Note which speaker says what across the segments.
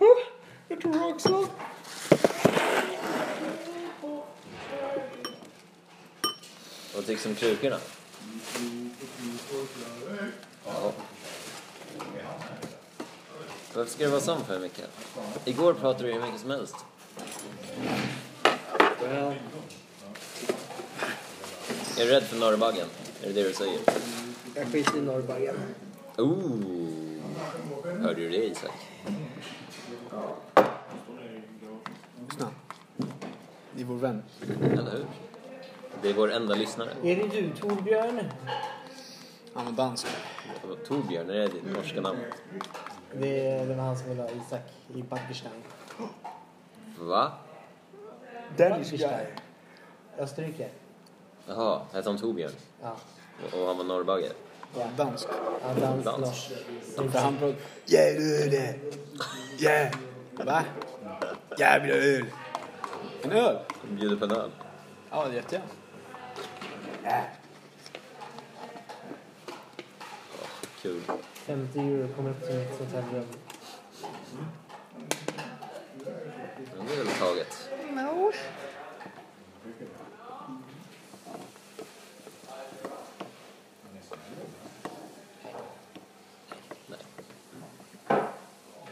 Speaker 1: Oh, jag tror också.
Speaker 2: Vad tycks om krukorna? Ja. Varför ska det vara sån för, Mikael? Igår pratade du hur mycket som helst.
Speaker 1: Well,
Speaker 2: Är du rädd för norrbaggen? Är det det du säger?
Speaker 1: jag skiter i norrbaggen.
Speaker 2: Ooh. Oh! Hörde du det, Isak?
Speaker 1: Lyssna. Det är vår vän.
Speaker 2: Eller hur? Det är vår enda lyssnare.
Speaker 3: Är det du Torbjörn?
Speaker 1: Han var dansk.
Speaker 2: Torbjörn, är det ditt norska namn?
Speaker 3: Det, det var han som ville ha Isak i Backerstein.
Speaker 2: Va?
Speaker 3: Backerstein. Österrike.
Speaker 2: Jaha, hette han Torbjörn?
Speaker 3: Ja.
Speaker 2: Och- Och han var norrbagge?
Speaker 3: ja.
Speaker 1: Dansk.
Speaker 3: ja dans,
Speaker 2: Dans.
Speaker 3: Lars.
Speaker 1: För han pratade... Yeah, öl! eh. Yeah! Va? Jävla öl! En öl?
Speaker 2: Bjuder på en öl?
Speaker 1: Ja, jättegärna.
Speaker 2: Kul.
Speaker 3: 50 euro kommer upp till mitt hotellrum.
Speaker 2: Men det är väl taget. Nej.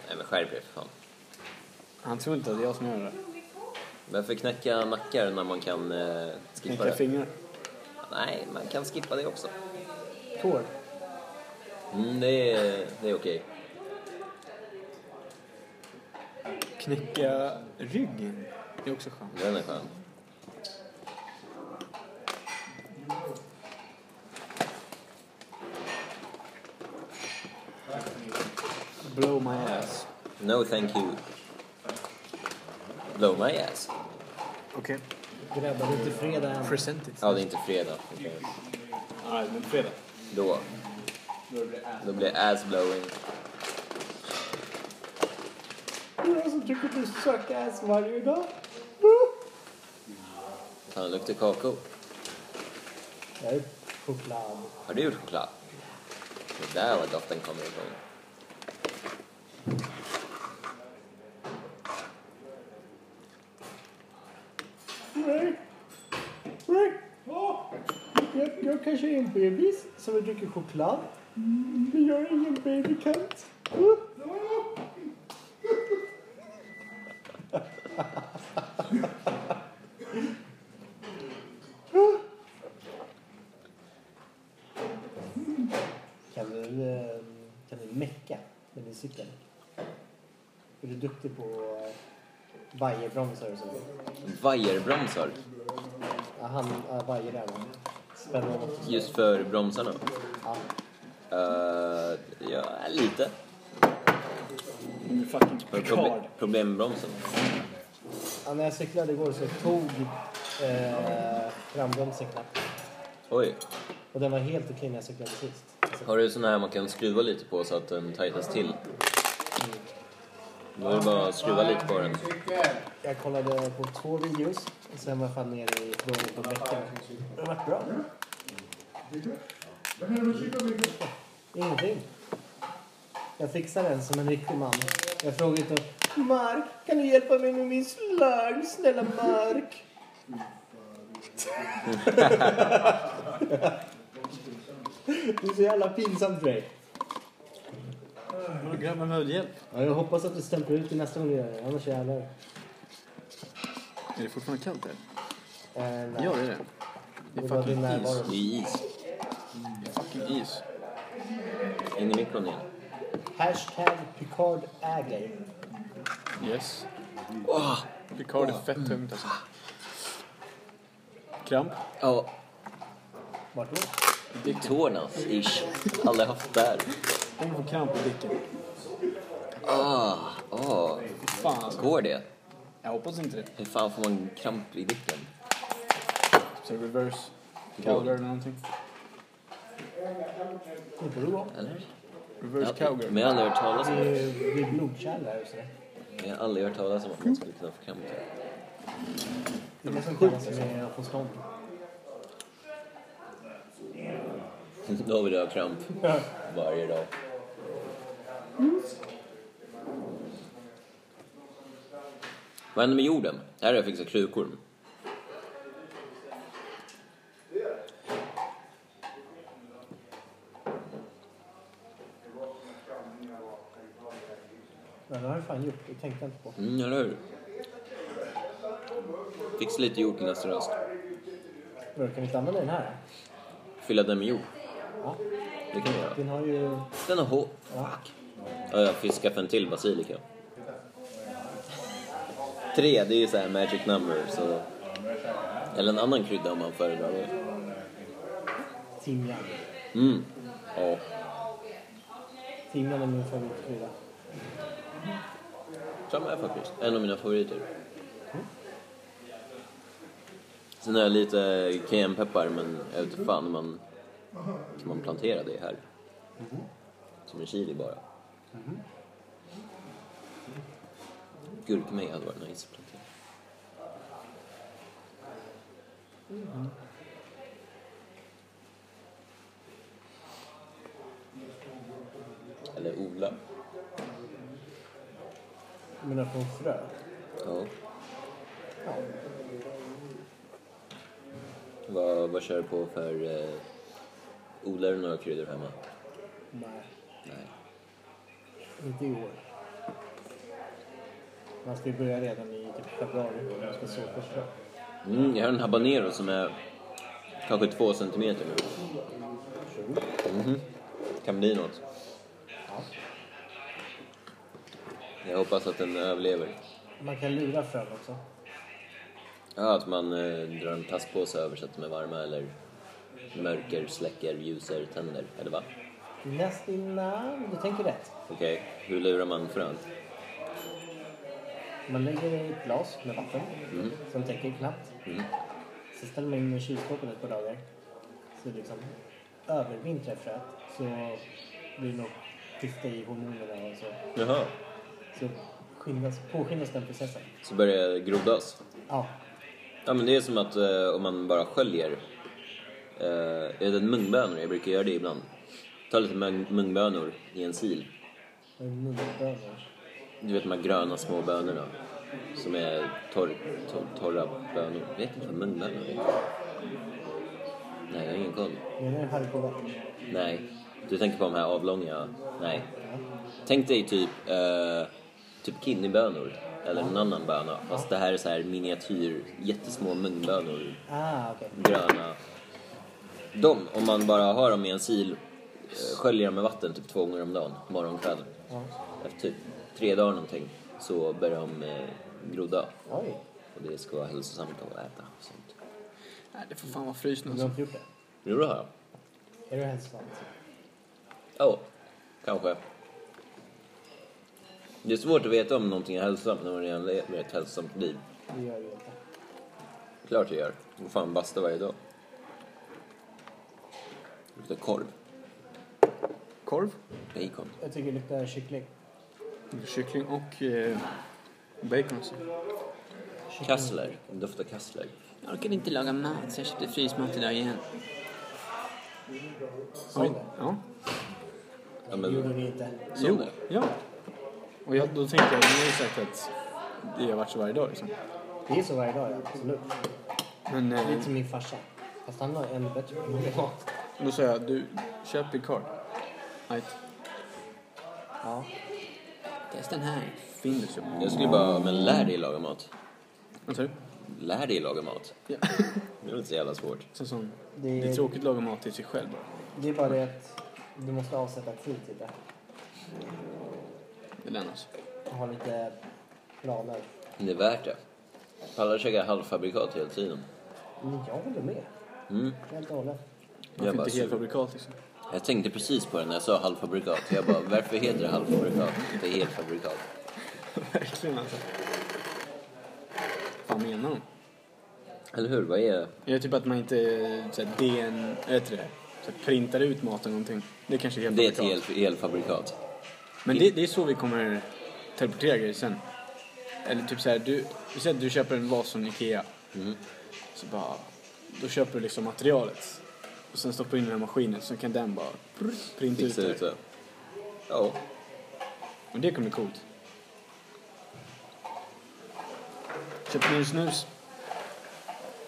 Speaker 2: Nej men skärp er för fan.
Speaker 1: Han tror inte att det är jag som gör det.
Speaker 2: Varför knäcka nackar när man kan eh, skippa
Speaker 1: Knäcka
Speaker 2: det?
Speaker 1: fingrar.
Speaker 2: Nej, man kan skippa det också.
Speaker 3: Tår.
Speaker 2: Mm, det är, det är okej.
Speaker 1: Knäcka ryggen. Det är också skönt.
Speaker 2: Den är skön.
Speaker 1: Blow my ass.
Speaker 2: No thank you. Blow my ass.
Speaker 1: Okej.
Speaker 3: Grabbar, det är inte fredag än.
Speaker 1: Present it.
Speaker 2: Ja, det är inte fredag. Okej.
Speaker 1: Nej, men fredag.
Speaker 2: Då. Då blir det ass blowing.
Speaker 3: Det är jag som tycker att du suckar ass varje dag.
Speaker 2: Fan, det luktar kakao.
Speaker 3: Jag är choklad.
Speaker 2: Har du gjort choklad? Det där var doften kommer igång.
Speaker 3: Nej. Nej. Ja. Jag, jag kanske är en bebis som dricker choklad. Men jag är ingen babykatt. Kan du, eh, kan du mecka med din cykel? Är du duktig på eh, vajerbromsar och sådär?
Speaker 2: Vajerbromsar.
Speaker 3: Ja, han äh, vajer där va? Spänner åt.
Speaker 2: Just för bromsarna.
Speaker 3: Ja.
Speaker 2: Eh, ja, lite.
Speaker 1: Nu fucking
Speaker 2: För
Speaker 1: Picard.
Speaker 2: proble- problembromsen.
Speaker 3: Ja, när jag cyklade igår så tog eh, frambromsen knappt.
Speaker 2: Oj.
Speaker 3: Och den var helt okej när jag cyklade sist. Så,
Speaker 2: Har du sån här man kan skruva lite på så att den tajtas till? Då är det bara att skruva lite på den.
Speaker 3: jag kollade på två videos och sen var jag fan nere i frågor på veckan. Det har varit bra. Ingenting. Jag fixar den som en riktig man. Jag frågade inte Mark, kan du hjälpa mig med min slang? Snälla Mark. det är så jävla pinsamt för dig.
Speaker 1: Vadå grabbar med hjälp?
Speaker 3: Ja, jag hoppas att du stämplar ut det nästa gång du gör det, annars jävlar.
Speaker 1: Är det fortfarande kallt här?
Speaker 3: Eh, nej.
Speaker 1: Ja, det är det. Det
Speaker 3: Det
Speaker 1: är
Speaker 3: var din
Speaker 1: fucking is.
Speaker 3: närvaro.
Speaker 2: Det är is.
Speaker 1: Fucking is.
Speaker 2: In i mikron igen.
Speaker 3: Hashtag Picard äger.
Speaker 1: Yes. Picard är fett tungt alltså. Kramp.
Speaker 2: Ja,
Speaker 3: Vart då?
Speaker 2: det är tårna. Ish. Aldrig haft där.
Speaker 1: Tänk på kramp i dicken.
Speaker 2: Ah, ah.
Speaker 1: Fan alltså.
Speaker 2: Går det?
Speaker 1: Jag hoppas inte det.
Speaker 2: Hur fan får man kramp i dicken?
Speaker 1: Så Typ reverse. Cowgirl eller någonting.
Speaker 3: Det beror på.
Speaker 2: Eller?
Speaker 1: Reverse
Speaker 2: Ja,
Speaker 1: cowgirl.
Speaker 2: men jag har aldrig hört talas om
Speaker 3: Det
Speaker 2: det.
Speaker 3: är det är blodkärl där och sådär.
Speaker 2: Men Jag har aldrig hört talas om att man skulle kunna få kramp.
Speaker 3: Det är det som kallas med att få stånd.
Speaker 2: Då vill jag ha kramp. Varje dag. Vad händer med jorden? Här har jag fixat krukor.
Speaker 3: Men det har du fan gjort. Det tänkte jag inte på.
Speaker 2: Mm, eller hur? Fixa lite jord till nästa rast.
Speaker 3: Bro, kan vi inte använda den här?
Speaker 2: Fylla den med jord.
Speaker 3: Ja.
Speaker 2: Det kan vi göra.
Speaker 3: Den har ju...
Speaker 2: Den har hår. Fuck. Ja, jag fick skaffa en till basilika. Tre, det är ju så här magic number. Så... Eller en annan krydda om man föredrar det.
Speaker 3: Timjan.
Speaker 2: Mm. Ja.
Speaker 3: Timjan är min favoritkrydda.
Speaker 2: Samma här faktiskt. En av mina favoriter. Sen har jag lite cayennepeppar men jag vet inte fan om man, om man planterar det här. Som en chili bara. Gurkmeja hade varit nice att plantera. Eller odla.
Speaker 3: Jag menar från frö.
Speaker 2: Ja.
Speaker 3: Ja.
Speaker 2: Vad, vad kör du på för... Eh, odlar du några kryddor hemma?
Speaker 3: Nej,
Speaker 2: Nej.
Speaker 3: inte i år. Man ska ju börja redan i typ februari. Man ska så för frö.
Speaker 2: Mm, jag har en habanero som är kanske två centimeter nu. Mhm. Kan bli något. Jag hoppas att den överlever.
Speaker 3: Man kan lura frön också.
Speaker 2: Ja, att man eh, drar en plastpåse över så att de är varma eller mörker, släcker, ljuser, tänder. Eller va?
Speaker 3: Nästinnan. Du tänker rätt.
Speaker 2: Okej, hur lurar man frön?
Speaker 3: Man lägger det i ett glas med vatten som täcker knappt. Så ställer man in i kylskåpet ett par dagar. Så liksom övervintrar fröet. Så blir det nog skifte i hormonerna och så.
Speaker 2: Jaha.
Speaker 3: Så skyndas, påskyndas den processen.
Speaker 2: Så börjar det grodas.
Speaker 3: Ja,
Speaker 2: Ja men det är som att eh, om man bara sköljer. Eh, jag vet att mungbönor, jag brukar göra det ibland. Ta lite mung- mungbönor i en sil.
Speaker 3: och munbönor.
Speaker 2: Du vet de här gröna små bönorna. Som är torr, torr, torra bönor. Jag vet inte vad mungbönor är. Nej, jag har ingen koll.
Speaker 3: Menar du Harry Potter?
Speaker 2: Nej. Du tänker på de här avlånga? Nej. Tänk dig typ, eh, typ kidneybönor. Eller en annan böna. Fast det här är så här miniatyr, jättesmå mungbönor
Speaker 3: Ah, okej.
Speaker 2: gröna. De, om man bara har dem i en sil, eh, sköljer dem med vatten typ två gånger om dagen, morgon och kväll.
Speaker 3: Ja.
Speaker 2: Efter typ tre dagar någonting så börjar de eh, groda.
Speaker 3: Oj,
Speaker 2: Och det ska vara hälsosamt att äta. och Sånt.
Speaker 1: Nej, det får fan vara frysen
Speaker 3: du har
Speaker 1: alltså.
Speaker 3: inte gjort det?
Speaker 2: Jo, det har jag.
Speaker 3: Är du hälsosamt?
Speaker 2: Ja, kanske. Det är svårt att veta om någonting är hälsosamt när man redan lever ett hälsosamt liv.
Speaker 3: Det gör du inte.
Speaker 2: Klart jag gör. Vad fan, basta varje dag. Luktar korv.
Speaker 1: Korv,
Speaker 2: Bacon.
Speaker 3: Jag tycker det luktar kyckling.
Speaker 1: kyckling och eh, bacon alltså. också.
Speaker 3: kyckling.
Speaker 2: Kassler. Det doftar kassler.
Speaker 4: Jag orkade inte laga mat så jag köpte frysmat idag igen.
Speaker 3: Sa du det?
Speaker 1: Ja.
Speaker 3: Det
Speaker 2: Ja, men-
Speaker 3: gjorde du inte.
Speaker 2: Sån
Speaker 1: Jo,
Speaker 2: är.
Speaker 1: ja. Och jag, då tänkte jag, nu har ju sagt att det har varit så varje dag liksom.
Speaker 3: Det är så varje dag, ja. Absolut.
Speaker 1: Men
Speaker 3: Det är
Speaker 1: eh,
Speaker 3: som min farsa. Fast han har ännu bättre mat.
Speaker 1: då sa jag, du, köp Picard. Nej,
Speaker 3: Ja.
Speaker 4: Testa den här.
Speaker 1: Findus köp.
Speaker 2: Jag skulle bara, men lär dig laga mat.
Speaker 1: Vad sa du?
Speaker 2: Lär dig laga mat.
Speaker 1: Ja.
Speaker 2: Det är väl inte så jävla svårt.
Speaker 1: Så, sån.
Speaker 3: Det
Speaker 1: Det
Speaker 3: är-
Speaker 1: är tråkigt att laga mat till sig själv bara.
Speaker 3: Det är bara det att du måste avsätta tid till det.
Speaker 1: Det lär oss.
Speaker 3: Och ha lite planer.
Speaker 2: Men det är värt det. Pallar käka halvfabrikat hela tiden.
Speaker 3: Men jag håller med.
Speaker 2: Mm.
Speaker 3: Helt och hållet.
Speaker 1: Man
Speaker 2: Jag,
Speaker 1: får
Speaker 2: bara,
Speaker 1: inte helfabrikat liksom.
Speaker 2: jag tänkte precis på det när jag sa halvfabrikat. Jag bara, varför heter det halvfabrikat? Det är helfabrikat.
Speaker 1: Verkligen alltså. Vad fan menar de?
Speaker 2: Eller hur? Vad är
Speaker 1: Jag typ att man inte såhär, DN, vad heter det? Såhär, printar ut mat eller någonting. Det kanske är helt
Speaker 2: det? är ett
Speaker 1: fabrikat.
Speaker 2: hel- helfabrikat.
Speaker 1: Men det, det är så vi kommer teleportera grejer sen. Eller typ så här, du, vi säger att du köper en vas från Ikea.
Speaker 2: Mm.
Speaker 1: Så bara, då köper du liksom materialet. Och sen stoppar du in den här maskinen så kan den bara prr- printa ut
Speaker 2: Fixa ut
Speaker 1: det.
Speaker 2: det. Ja.
Speaker 1: Men det kommer bli coolt. Köpte ny snus.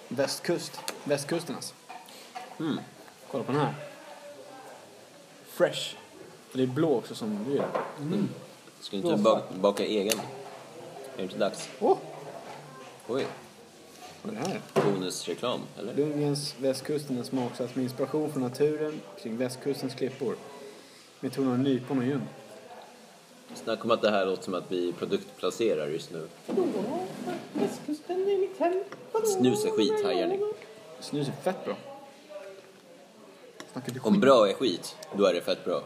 Speaker 1: Västkust. Västkusten alltså. Kolla på den här. Fresh. Och det är blå också som vi gör.
Speaker 2: Ska inte du baka, baka egen? Är det inte dags?
Speaker 1: Åh!
Speaker 2: Oj,
Speaker 1: Vad är det här?
Speaker 2: bonusreklam, eller?
Speaker 1: Lundgrens Västkusten är smaksatt med inspiration från naturen kring västkustens klippor. Med tonen av nypon och ljung.
Speaker 2: Snacka om att det här låter som att vi produktplacerar just nu.
Speaker 3: Västkusten är mitt hem. Vadå?
Speaker 2: Snus är skit, hajar ni.
Speaker 1: Snus är fett bra. Snackar du skit?
Speaker 2: Om bra är skit, då är det fett bra.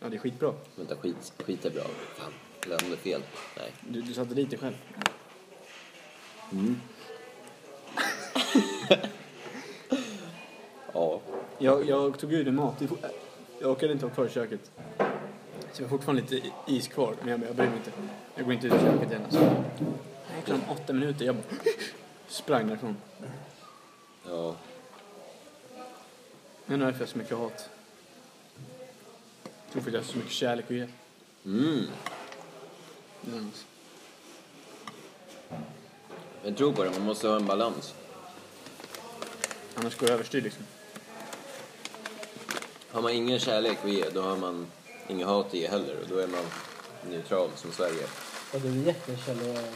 Speaker 1: Ja, det är skitbra.
Speaker 2: Vänta, skit, skit är bra. Fan, glömde fel. Nej.
Speaker 1: Du, du satte dit dig själv.
Speaker 2: Ja.
Speaker 1: Jag, jag tog ur din mat. Det är fort- Jag orkade inte vara kvar i köket. Så jag har fortfarande lite is kvar, men jag, jag bryr mig inte. Jag går inte ut i köket igen. Alltså. Jag är klar om åtta minuter. Jag bara sprang därifrån.
Speaker 2: Ja.
Speaker 1: Jag undrar varför jag har så mycket hat. Jag tror för att jag har så mycket kärlek att ge.
Speaker 2: Mm.
Speaker 1: Mm. alltså.
Speaker 2: Jag tror på det, man måste ha en balans.
Speaker 1: Annars går det överstyr liksom.
Speaker 2: Har man ingen kärlek att ge, då har man ingen hat att ge heller. Och då är man neutral som Sverige.
Speaker 3: Och du är jättekälla... Alltså,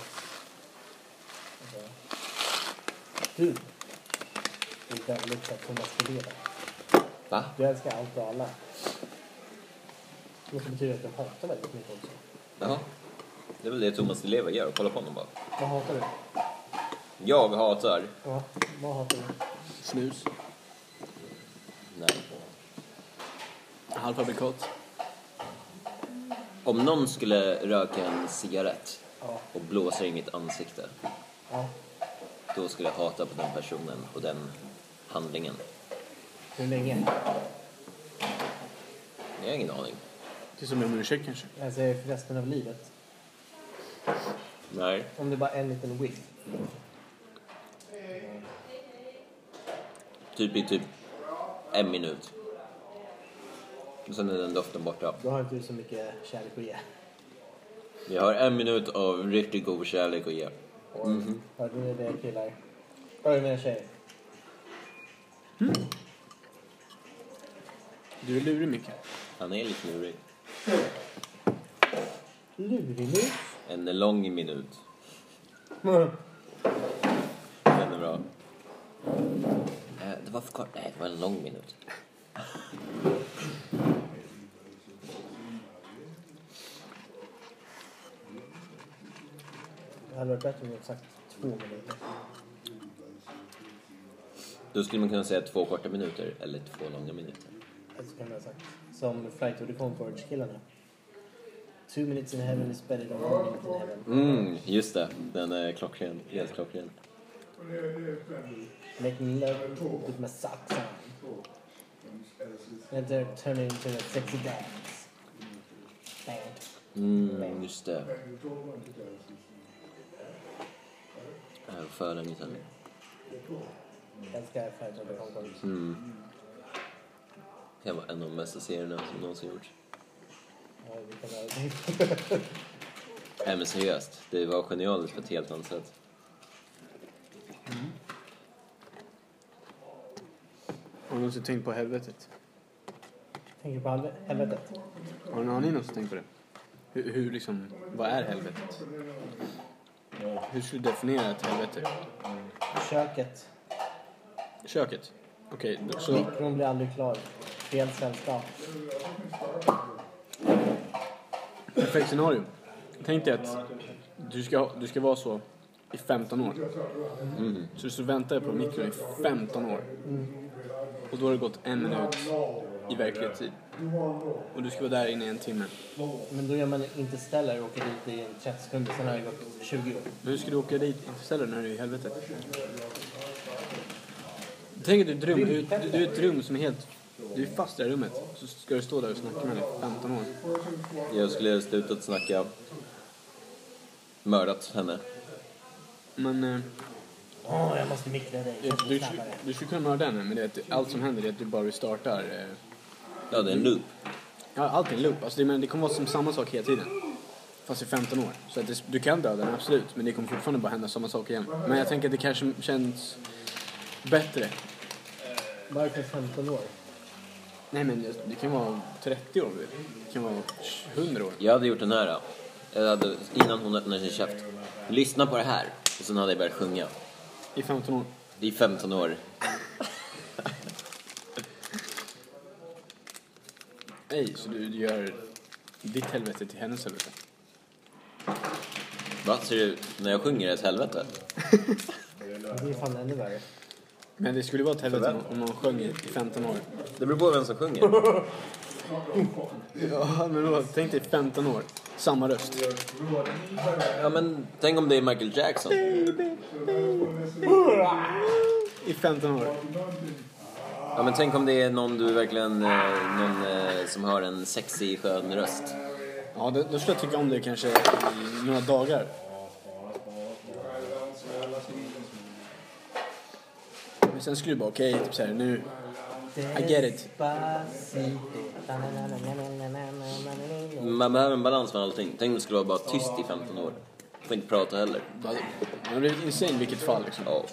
Speaker 3: Du är väldigt så här tomaskulerad.
Speaker 2: Va?
Speaker 3: Du älskar allt och alla. Det betyder att du hatar väldigt mycket också.
Speaker 2: Jaha. Det är väl det Thomas Di Leva gör, kolla på honom bara.
Speaker 3: Vad hatar du?
Speaker 2: Jag hatar...
Speaker 3: Ja, vad hatar du?
Speaker 1: Snus.
Speaker 2: Nej.
Speaker 1: Halvfabrikat.
Speaker 2: Om någon skulle röka en cigarett
Speaker 3: Ja.
Speaker 2: och blåsa i mitt ansikte,
Speaker 3: ja.
Speaker 2: då skulle jag hata på den personen och den handlingen.
Speaker 3: Hur länge?
Speaker 2: Jag har ingen aning.
Speaker 1: Tills de ber om ursäkt kanske.
Speaker 3: Alltså för resten av livet.
Speaker 2: Nej.
Speaker 3: Om det bara är en liten whiff.
Speaker 2: Typ i typ en minut. Och sen är den doften borta.
Speaker 3: Då har inte du så mycket kärlek att ge.
Speaker 2: Jag har en minut av riktigt god kärlek att ge.
Speaker 3: Hörde ni det killar? Ja, jag menar tjejer.
Speaker 1: Du är lurig Micke.
Speaker 2: Han är lite lurig.
Speaker 3: Lurimus.
Speaker 2: En lång minut.
Speaker 3: Mm.
Speaker 2: Den är bra. Eh, Det var för kort. Nej, det var en lång minut.
Speaker 3: Det hade varit bättre om jag sagt två minuter.
Speaker 2: Då skulle man kunna säga två korta minuter eller två långa minuter.
Speaker 3: Eller så kan jag ha sagt som Flight of the Conchords-killarna. Two minutes in heaven is better than one minute in heaven.
Speaker 2: Mm, just det. Den är klockren. Helt klockren.
Speaker 3: Making love with my socks on. And they're turning into a sexy dance. Bang.
Speaker 2: Mm, just det. Det här var för länge sedan.
Speaker 3: Älskar Flight of the Conchords.
Speaker 2: Mm. Det här var en av de bästa serierna som någonsin gjorts.
Speaker 3: Ja, vi kan göra det.
Speaker 2: Nej men seriöst, det var genialiskt på ett helt annat sätt.
Speaker 1: Har du någonsin tänkt på helvetet?
Speaker 3: Tänker på helve- helvetet.
Speaker 1: Har, har ni någonsin tänkt på det? Hur, hur liksom, vad är helvetet? Hur skulle du definiera ett helvete?
Speaker 3: Köket.
Speaker 1: Köket? Okej, då- så
Speaker 3: Mikron blir aldrig klar. Fel sällskap.
Speaker 1: perfekt scenario. Tänk dig att du ska, du ska vara så i 15 år. Så du så väntar jag på mikron i 15 år. Och då har det gått en minut i verklig tid. Och du ska vara där inne i en timme.
Speaker 3: Men då gör man inte ställer och åker dit i 30 sekunder. Sen har det gått 20 år.
Speaker 1: Men hur ska du åka dit istället när du är i helvetet? Tänk att du, dröm, du, du, du är i ett rum som är helt... Du är fast i det här rummet. Så ska du stå där och snacka med dig i 15 år.
Speaker 2: Jag skulle slutat snacka. Mördat henne.
Speaker 1: Men eh,
Speaker 3: Åh, jag måste mikra dig.
Speaker 1: du, du, skulle- du skulle kunna mörda henne, men det är att allt som händer är att du bara restartar. Eh,
Speaker 2: Ja, det är en loop.
Speaker 1: ja, allt är en loop. Alltså, det, men det kommer vara som samma sak hela tiden. Fast i 15 år. Så att det, du kan döda den, absolut. Men det kommer fortfarande bara hända samma sak igen. Men jag tänker att det kanske känns bättre.
Speaker 3: Varför 15 år?
Speaker 1: Nej men det, det kan vara 30 år om du vill. Det kan vara 100 år.
Speaker 2: Jag hade gjort den här. Jag hade, innan hon öppnade sin käft. Lyssna på det här. Och sen hade jag börjat sjunga.
Speaker 1: I 15 år.
Speaker 2: I 15 år.
Speaker 1: Nej, så du, du gör ditt helvete till hennes helvete.
Speaker 2: Vad ser du när jag sjunger är ett helvete?
Speaker 3: Det är fan ännu värre.
Speaker 1: Men det skulle vara ett helvete om- om någon sjöng i i 15 år.
Speaker 2: Det beror på vem som sjunger.
Speaker 1: Ja, men då, tänk dig 15 år. Samma röst.
Speaker 2: Ja, men tänk om det är Michael Jackson.
Speaker 1: I 15 år.
Speaker 2: Ja, men tänk om det är någon du verkligen... eh, Någon eh, som har en sexig, skön röst.
Speaker 1: Ja, då, då skulle jag tycka om det kanske i några dagar. Men sen skulle du bara, okej, typ såhär nu. I get it.
Speaker 2: Man behöver en balans med allting. Tänk om det skulle vara bara tyst i 15 år. Får inte prata heller.
Speaker 1: Då hade- Man har blivit insane i vilket fall liksom.
Speaker 2: Ja.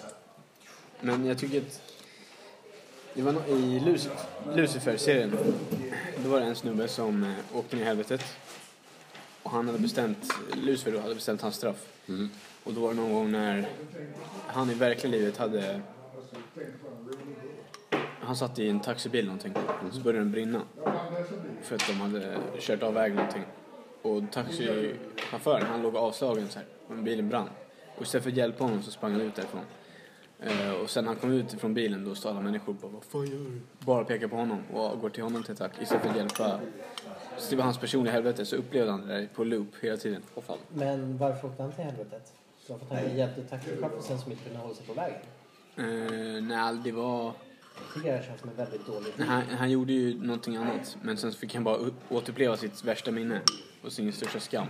Speaker 1: Men jag tycker att... Det var nå- i Luc- Lucifer-serien. Då var det en snubbe som eh, åkte ner i helvetet. Och han hade bestämt, Lucifer då, hade bestämt hans straff. Och då var det någon gång när han i verkliga livet hade... Han satt i en taxibil någonting. Så började den brinna. För att de hade kört av vägen någonting. Och taxichauffören, han låg avslagen så här. Men bilen brann. Och istället för att hjälpa honom så sprang han ut därifrån. Eh, och sen när han kom ut från bilen då stod alla människor bara Vad fan gör du? Bara pekar på honom och går till honom till attack istället för att hjälpa. Så det var hans personliga helvete. Så upplevde han det där på loop hela tiden.
Speaker 2: Åh fan.
Speaker 3: Men varför åkte han till helvetet? Varför att han blev hjälpt taxichauffören som inte kunde hålla sig på vägen?
Speaker 1: Eh, nej, det var...
Speaker 3: Det tycker jag känns som en väldigt dålig
Speaker 1: Nej, Han, han gjorde ju någonting annat. Men sen så fick han bara u- återuppleva sitt värsta minne och sin största skam.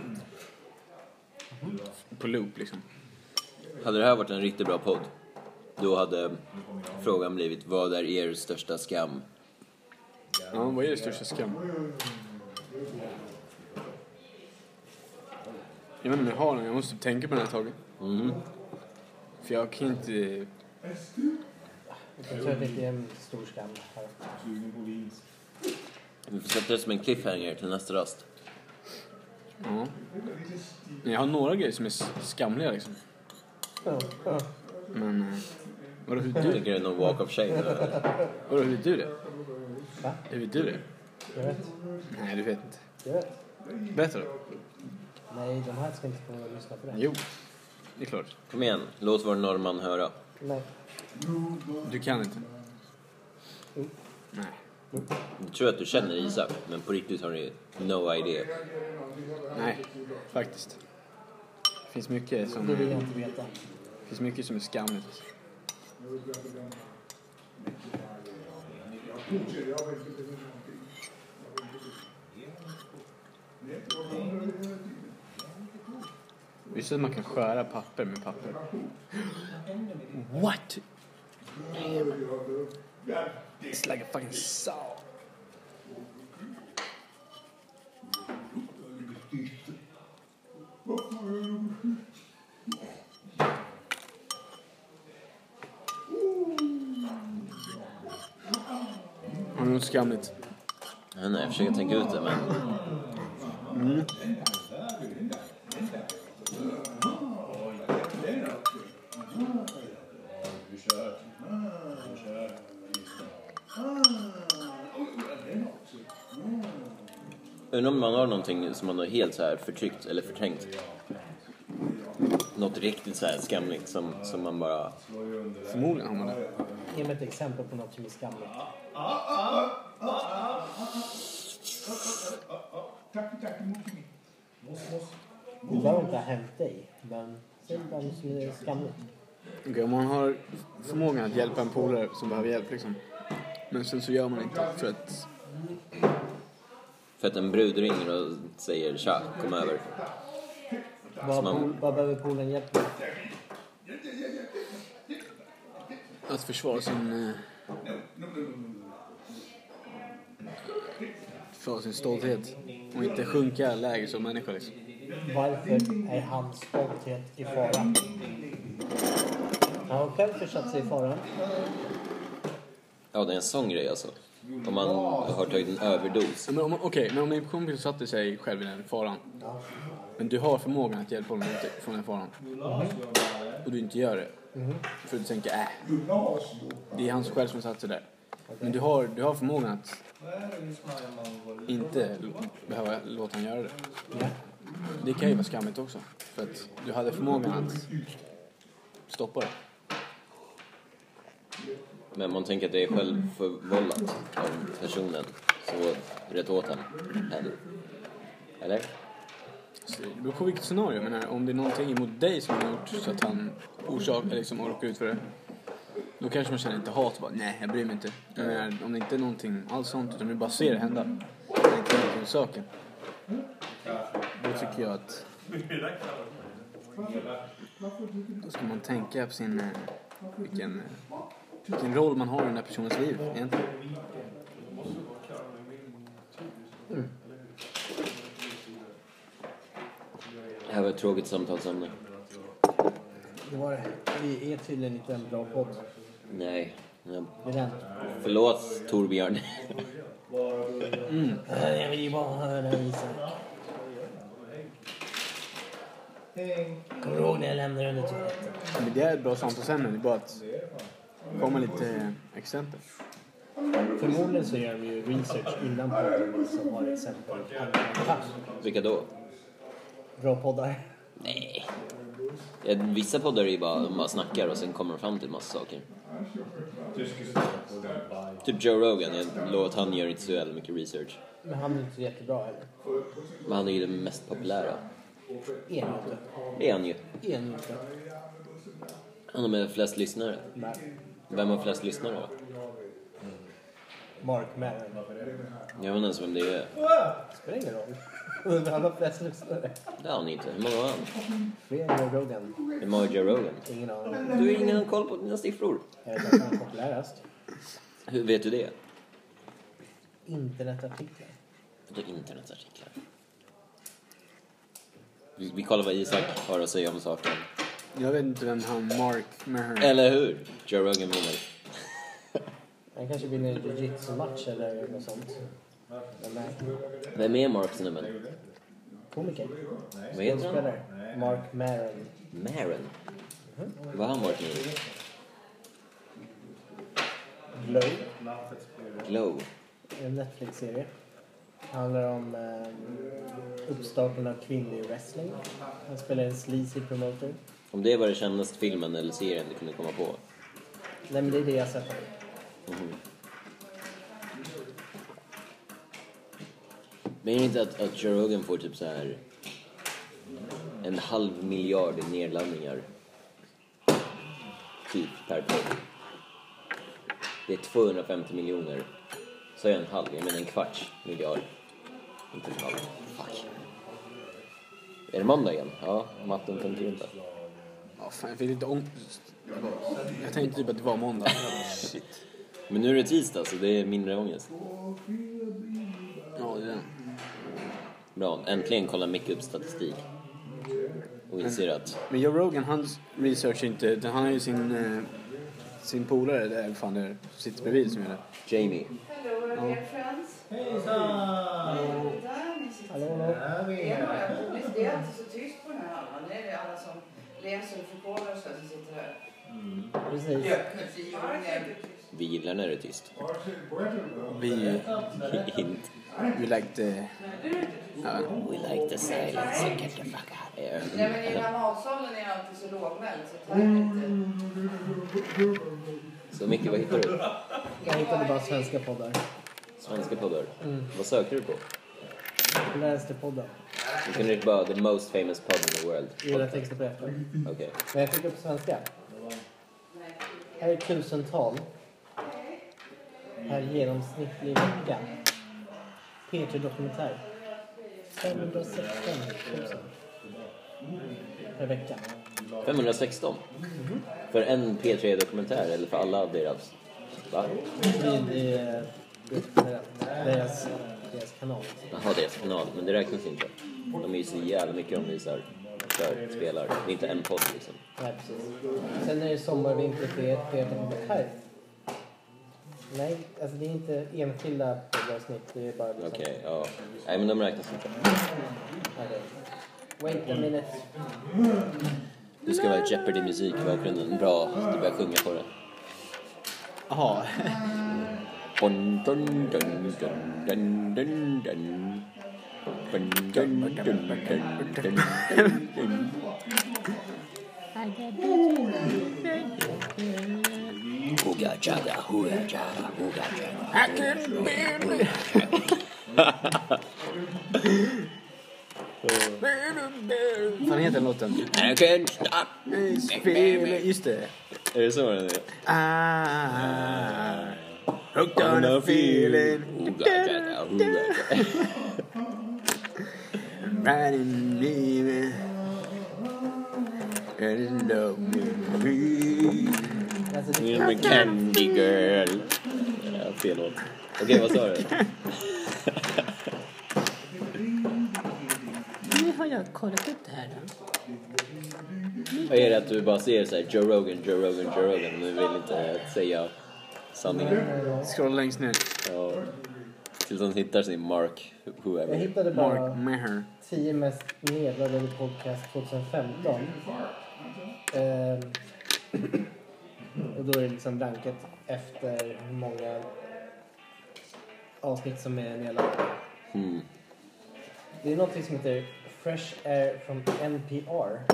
Speaker 2: Mhm.
Speaker 1: På loop liksom.
Speaker 2: Hade det här varit en riktigt bra podd, då hade frågan blivit vad är er största skam?
Speaker 1: Ja, vad är det största skam? Jag vet inte om jag har den, jag måste typ tänka på den ett tag. Mm. För jag kan inte...
Speaker 3: Jag tror att det är en stor skam. här.
Speaker 2: Vi får sätta det som en cliffhanger till nästa rast.
Speaker 1: Ja. Men jag har några grejer som är s- skamliga liksom.
Speaker 3: Ja, ja.
Speaker 1: Men... eh, Vadå, hur
Speaker 2: Jag
Speaker 1: du,
Speaker 2: tänker det är någon walk of shame. eller?
Speaker 1: vadå, hur du det?
Speaker 3: Va?
Speaker 1: Hur du det?
Speaker 3: Jag vet.
Speaker 1: Nej, du vet inte.
Speaker 3: Jag vet.
Speaker 1: Berätta då.
Speaker 3: Nej, de här ska inte få lyssna på det.
Speaker 1: Jo. Det är klart.
Speaker 2: Kom igen, låt vår norrman höra.
Speaker 3: Nej.
Speaker 1: Du kan inte. Mm.
Speaker 3: Jo.
Speaker 1: Nej.
Speaker 2: Jag tror att du känner Isak, men på riktigt har ni no idea.
Speaker 1: Nej, faktiskt. Det finns mycket som,
Speaker 3: Det vill jag
Speaker 1: det
Speaker 3: inte veta.
Speaker 1: finns mycket som är skamligt. alltså. Visst att man kan skära papper med papper? What? It's like a fucking saw. Har du något skamligt?
Speaker 2: Jag vet inte, jag försöker tänka ut det, men... Undrar om man har någonting som man har helt så här förtryckt eller förträngt. Något riktigt så här skamligt som, som man bara...
Speaker 1: Förmodligen har man det.
Speaker 3: Ge mig ett exempel på något som är skamligt. Det behöver inte ha hänt dig, men säg bara något som är skamligt.
Speaker 1: Okej, om man har förmågan att hjälpa en polare som behöver hjälp liksom. Men sen så gör man inte för att...
Speaker 2: För att en brud ringer och säger tja, kom över.
Speaker 3: Vad,
Speaker 2: man-
Speaker 3: pol- vad behöver poolen hjälp med?
Speaker 1: Att försvara sin... eh, Försvara sin stolthet. Och inte sjunka lägre som människa liksom.
Speaker 3: Varför är hans stolthet i fara? Han har själv försatt sig i fara.
Speaker 2: Ja, det är en sån grej alltså. Om man har tagit en överdos.
Speaker 1: Ja, men om- Okej, men om din kompis satte sig själv i den faran. Men du har förmågan att hjälpa honom ut från den faran. Och du inte gör det. För du tänker, äh. Det är han själv som satt sig där. Men du har, du har förmågan att inte lo- behöva låta honom göra det. Det kan ju vara skammigt också. För att du hade förmågan att stoppa det.
Speaker 2: Men man tänker att det är självförvållat av personen som går rätt åt en. Eller? Eller?
Speaker 1: Så Det beror på vilket scenario. Men eh, om det är någonting emot dig som har gjort så att han orsakar, liksom och råkar ut för det. Då kanske man känner inte hat och bara nej, jag bryr mig inte. Men jag menar, om det inte är någonting alls sånt utan du bara ser det hända. Det är inte någonting i saken. Då tycker jag att... Då ska man tänka på sin... eh, Vilken, eh, vilken roll man har i den här personens liv egentligen.
Speaker 2: Det här var ett tråkigt samtalsämne.
Speaker 3: Det var det. Vi är tydligen inte en bra podd.
Speaker 2: Nej. Ja.
Speaker 3: Det är den.
Speaker 2: Förlåt Torbjörn.
Speaker 3: Nej, Jag vill ju bara höra Isak. Kommer du ihåg när jag lämnade under toaletten?
Speaker 1: Men det är ett bra samtalsämne. Det är bara att komma lite eh, exempel.
Speaker 3: Förmodligen så gör de ju research innan podden som har exempel. Tack.
Speaker 2: Vilka då?
Speaker 3: Bra poddar.
Speaker 2: Nej. Ja, Vissa poddar är ju bara, de bara snackar och sen kommer de fram till massa saker. Typ Joe Rogan, jag lovar att han gör inte så jävla mycket research.
Speaker 3: Men han är inte jättebra heller.
Speaker 2: Men han är ju den mest populära.
Speaker 3: Är han inte?
Speaker 2: Det är han ju.
Speaker 3: Är han inte?
Speaker 2: Han har med flest lyssnare.
Speaker 3: Nej.
Speaker 2: Vem har flest lyssnare då?
Speaker 3: Mark Maron.
Speaker 2: Jag vet inte ens vem det är.
Speaker 3: Spelar ingen roll. Undrar Han har flest lyssnare.
Speaker 2: Det har han inte. Hur många har han?
Speaker 3: Fler än Joe Rogan.
Speaker 2: Hur många har Joe Rogan?
Speaker 3: Ingen aning.
Speaker 2: Du har ingen koll på dina siffror.
Speaker 3: Är det därför han är populärast?
Speaker 2: Hur vet du det?
Speaker 3: Internetartiklar.
Speaker 2: Vadå internetartiklar? Vi, vi kollar vad Isak har att säga om saken.
Speaker 1: Jag vet inte vem han Mark Maron...
Speaker 2: Eller hur? Joe Rogan vinner.
Speaker 3: Han kanske vinner en jujutsu-match eller något sånt. Vem är
Speaker 2: Vem är Mark Cinnamon?
Speaker 3: komiker?
Speaker 2: Vad heter han?
Speaker 3: Skådespelare. Mark Maron.
Speaker 2: Maron. Vad har han varit med i?
Speaker 3: Glow.
Speaker 2: Glow.
Speaker 3: En Netflix-serie. Handlar om eh, uppstarten av kvinnlig wrestling. Han spelar en sleazy promoter.
Speaker 2: Om det var den kändaste filmen eller serien du kunde komma på.
Speaker 3: Nej men det är det jag har sett.
Speaker 2: Men är det inte att, att Joe Rogan får typ så här en halv miljard nedladdningar? Typ per podd. Det är 250 miljoner. Så är en halv, jag menar en kvarts miljard. Inte en halv. Fuck. Är det måndag igen? Ja, matten funkar ju inte.
Speaker 1: Ja, fan, jag fick lite ångest. Jag tänkte typ att det var måndag. Shit.
Speaker 2: Men nu är det tisdag så det är mindre ångest.
Speaker 1: Ja, det är den.
Speaker 2: Bra, äntligen kollar Micke upp statistik. Och inser att
Speaker 1: Men Joe Rogan, han researchar inte. utan Han har ju sin, eh, sin polare, där, eller fan det är, som sitter bredvid som gör det.
Speaker 2: Jamie,
Speaker 5: Hello, dear friends. Där ni sitter.
Speaker 3: Hallå, hallå.
Speaker 5: Det är några roligt. Det är alltid så tyst på den här halvan. Det är det alla som läser och förkovrar sig som sitter här.
Speaker 3: Precis.
Speaker 2: vi gillar när det är tyst.
Speaker 1: Vi,
Speaker 2: Hint.
Speaker 1: vi liked... eh, Ja,
Speaker 2: We like the silence, so get the fuck out of here.
Speaker 5: Nej, men i matsalen är alltid så lågmäld så att här är
Speaker 3: Mm.
Speaker 5: det inte...
Speaker 2: Så Micke, vad hittar du?
Speaker 3: Jag hittade bara svenska poddar.
Speaker 2: Svenska poddar. Vad söker du på?
Speaker 3: Vänsterpodden.
Speaker 2: Du kunde inte bara the most famous pod in the world.
Speaker 3: Gilla texter på efter.
Speaker 2: Okej.
Speaker 3: Men jag fick upp svenska. Här är tusental. Här är genomsnittlig vecka. P3 Dokumentär. 516 000 per vecka.
Speaker 2: 516? För en P3-dokumentär eller för alla deras? Va?
Speaker 3: Vid eh, deras, deras kanal.
Speaker 2: Jaha, deras kanal, men det räknas inte. De är ju så jävla mycket de visar. Kör, spelar. Det är inte en podd liksom.
Speaker 3: Nej, precis. Sen är det sommar och vinter för er för er som bor här. Nej, alltså det är inte enskilda poddavsnitt. Det är bara liksom...
Speaker 2: Okej, ja. Nej men de räknas inte.
Speaker 3: Nej, det- Wait a minute.
Speaker 2: Det ska vara Jeopardy-musik i bakgrunden. Bra, du börjar sjunga på det.
Speaker 1: Jaha.
Speaker 2: Dun, dun, dun, dun, dun, dun, dun. Dun, dun, dun, dun, dun, dun, dun. Hooga jaga, hooga jaga, hooga jaga.
Speaker 1: Vad fan heter den låten?
Speaker 2: I can't stop.
Speaker 1: Spel, just det.
Speaker 2: Är det så den är?
Speaker 1: Ah, hooked on a feeling.
Speaker 2: Hooga jaga, hooga jaga.
Speaker 1: Right in me. And love me.
Speaker 3: Alltså, det,
Speaker 2: You're my candy girl. Ja, fel låt. Okej, vad sa du?
Speaker 4: Nu har jag kollat upp det här då.
Speaker 2: Vad är det att du bara ser så här, Joe Rogan, Joe Rogan, Joe Rogan och du vill inte säga sanningen?
Speaker 1: Scrolla längst ner.
Speaker 2: Ja. Tills han hittar sin Mark,
Speaker 3: jag
Speaker 2: whoever.
Speaker 3: hittade bara
Speaker 1: Mark Maher.
Speaker 3: 10 mest nedladdade podcast 2015. Ehm, och då är det liksom rankat efter hur många avsnitt som är nedladdade.
Speaker 2: Mm.
Speaker 3: Det är någonting som heter Fresh Air from NPR.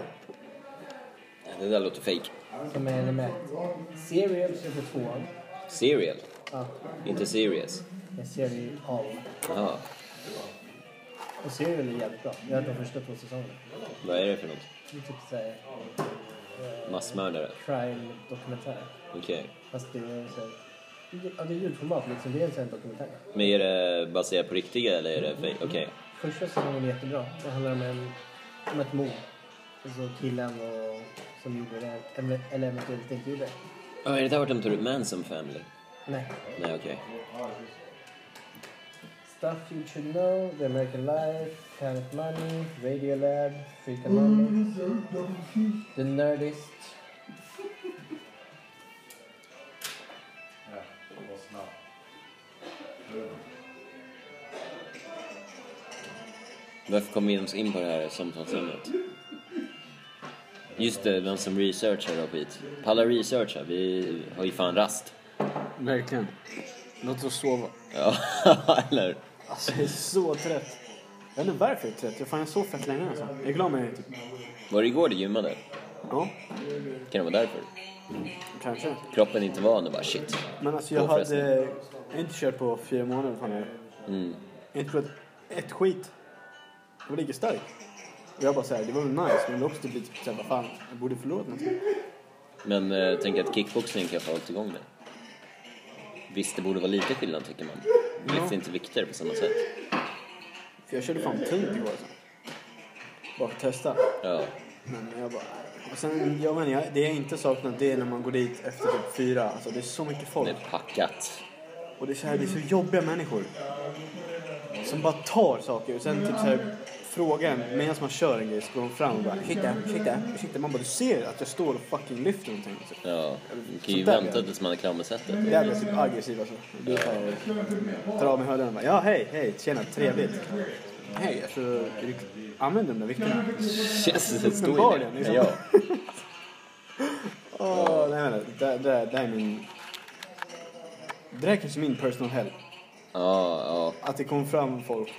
Speaker 2: Det där låter fake.
Speaker 3: Som är nummer ett. Serials är på tvåan.
Speaker 2: Serial?
Speaker 3: Ja,
Speaker 2: Inte serious?
Speaker 3: med Serial All.
Speaker 2: Jaha.
Speaker 3: Och Serial är jävligt bra. Jag har hört de första två säsongerna.
Speaker 2: Vad är det för något?
Speaker 3: Det är typ såhär
Speaker 2: Massmördare?
Speaker 3: crime-dokumentär.
Speaker 2: Okej.
Speaker 3: Fast det är såhär... Ja, det är ljudformat liksom. Det är en sån här dokumentär.
Speaker 2: Men är det baserat på riktiga eller är det fake? Okej.
Speaker 3: Första säsongen är jättebra. Det handlar om, en, om ett mord. Alltså killen och, som gjorde det, eller- eller eventuellt inte gjorde det.
Speaker 2: Ja, Är det där vart de tar upp Manson Family?
Speaker 3: Nej.
Speaker 2: Nej, okej.
Speaker 3: Stuff You Should Know, The American Life, Kind of Money, Radiolab, Freakonomics, The Nerdist.
Speaker 2: Varför kom vi ens in på det här samtalsämnet? Just det, de som researchar och skit. Palla researcha, vi har ju fan rast.
Speaker 1: Verkligen. Låt oss sova.
Speaker 2: Ja, eller?
Speaker 1: Alltså jag är så trött. Jag vet inte varför jag är trött. Jag fan jag sov fett länge alltså. Jag är glad med det typ.
Speaker 2: Var det igår du gymmade?
Speaker 1: Ja,
Speaker 2: Kan det vara därför?
Speaker 1: kanske.
Speaker 2: Kroppen är inte van och bara shit.
Speaker 1: Men alltså jag hade...
Speaker 2: Påfrestning.
Speaker 1: Jag har inte kört på fyra månader fan jag.
Speaker 2: Mm.
Speaker 1: Jag har inte provat ett skit. Jag var lika stark. Och jag bara såhär, det var väl nice. Men det var också typ lite såhär, vad fan, jag borde förlora någonting.
Speaker 2: Men eh, tänk att kickboxning kanske har hållit igång det. Visst, det borde vara lite skillnad tycker man. Det Lyfts inte vikter på samma sätt.
Speaker 1: För jag körde fan tungt igår alltså. Bara för att testa.
Speaker 2: Ja.
Speaker 1: Men jag bara... Och sen, jag menar, jag, det jag inte saknat det är när man går dit efter typ fyra. Alltså det är så mycket folk.
Speaker 2: Det är packat.
Speaker 1: Och det är så här, det är så jobbiga människor. Som bara tar saker och sen typ så här frågar en medan man kör en grej så går de fram och bara ursäkta, ursäkta, ursäkta. Man bara du ser att jag står och fucking lyfter någonting. Alltså, Så.
Speaker 2: Ja. Man kan ju
Speaker 1: Sånt där,
Speaker 2: vänta
Speaker 1: ja.
Speaker 2: tills man är klar med sättet.
Speaker 1: Där blir jag typ aggressiv alltså. Du tar, tar av mig hörlurarna och bara ja hej, hej, tjena, trevligt. Hej, alltså är du, använd de där vikterna.
Speaker 2: Känns det stå i
Speaker 1: Uppenbarligen,
Speaker 2: det?
Speaker 1: liksom.
Speaker 2: Ja.
Speaker 1: Åh, nej men det, det, det är min... Det där är kanske min personal hell.
Speaker 2: Ja, ja.
Speaker 1: Att det kom fram folk.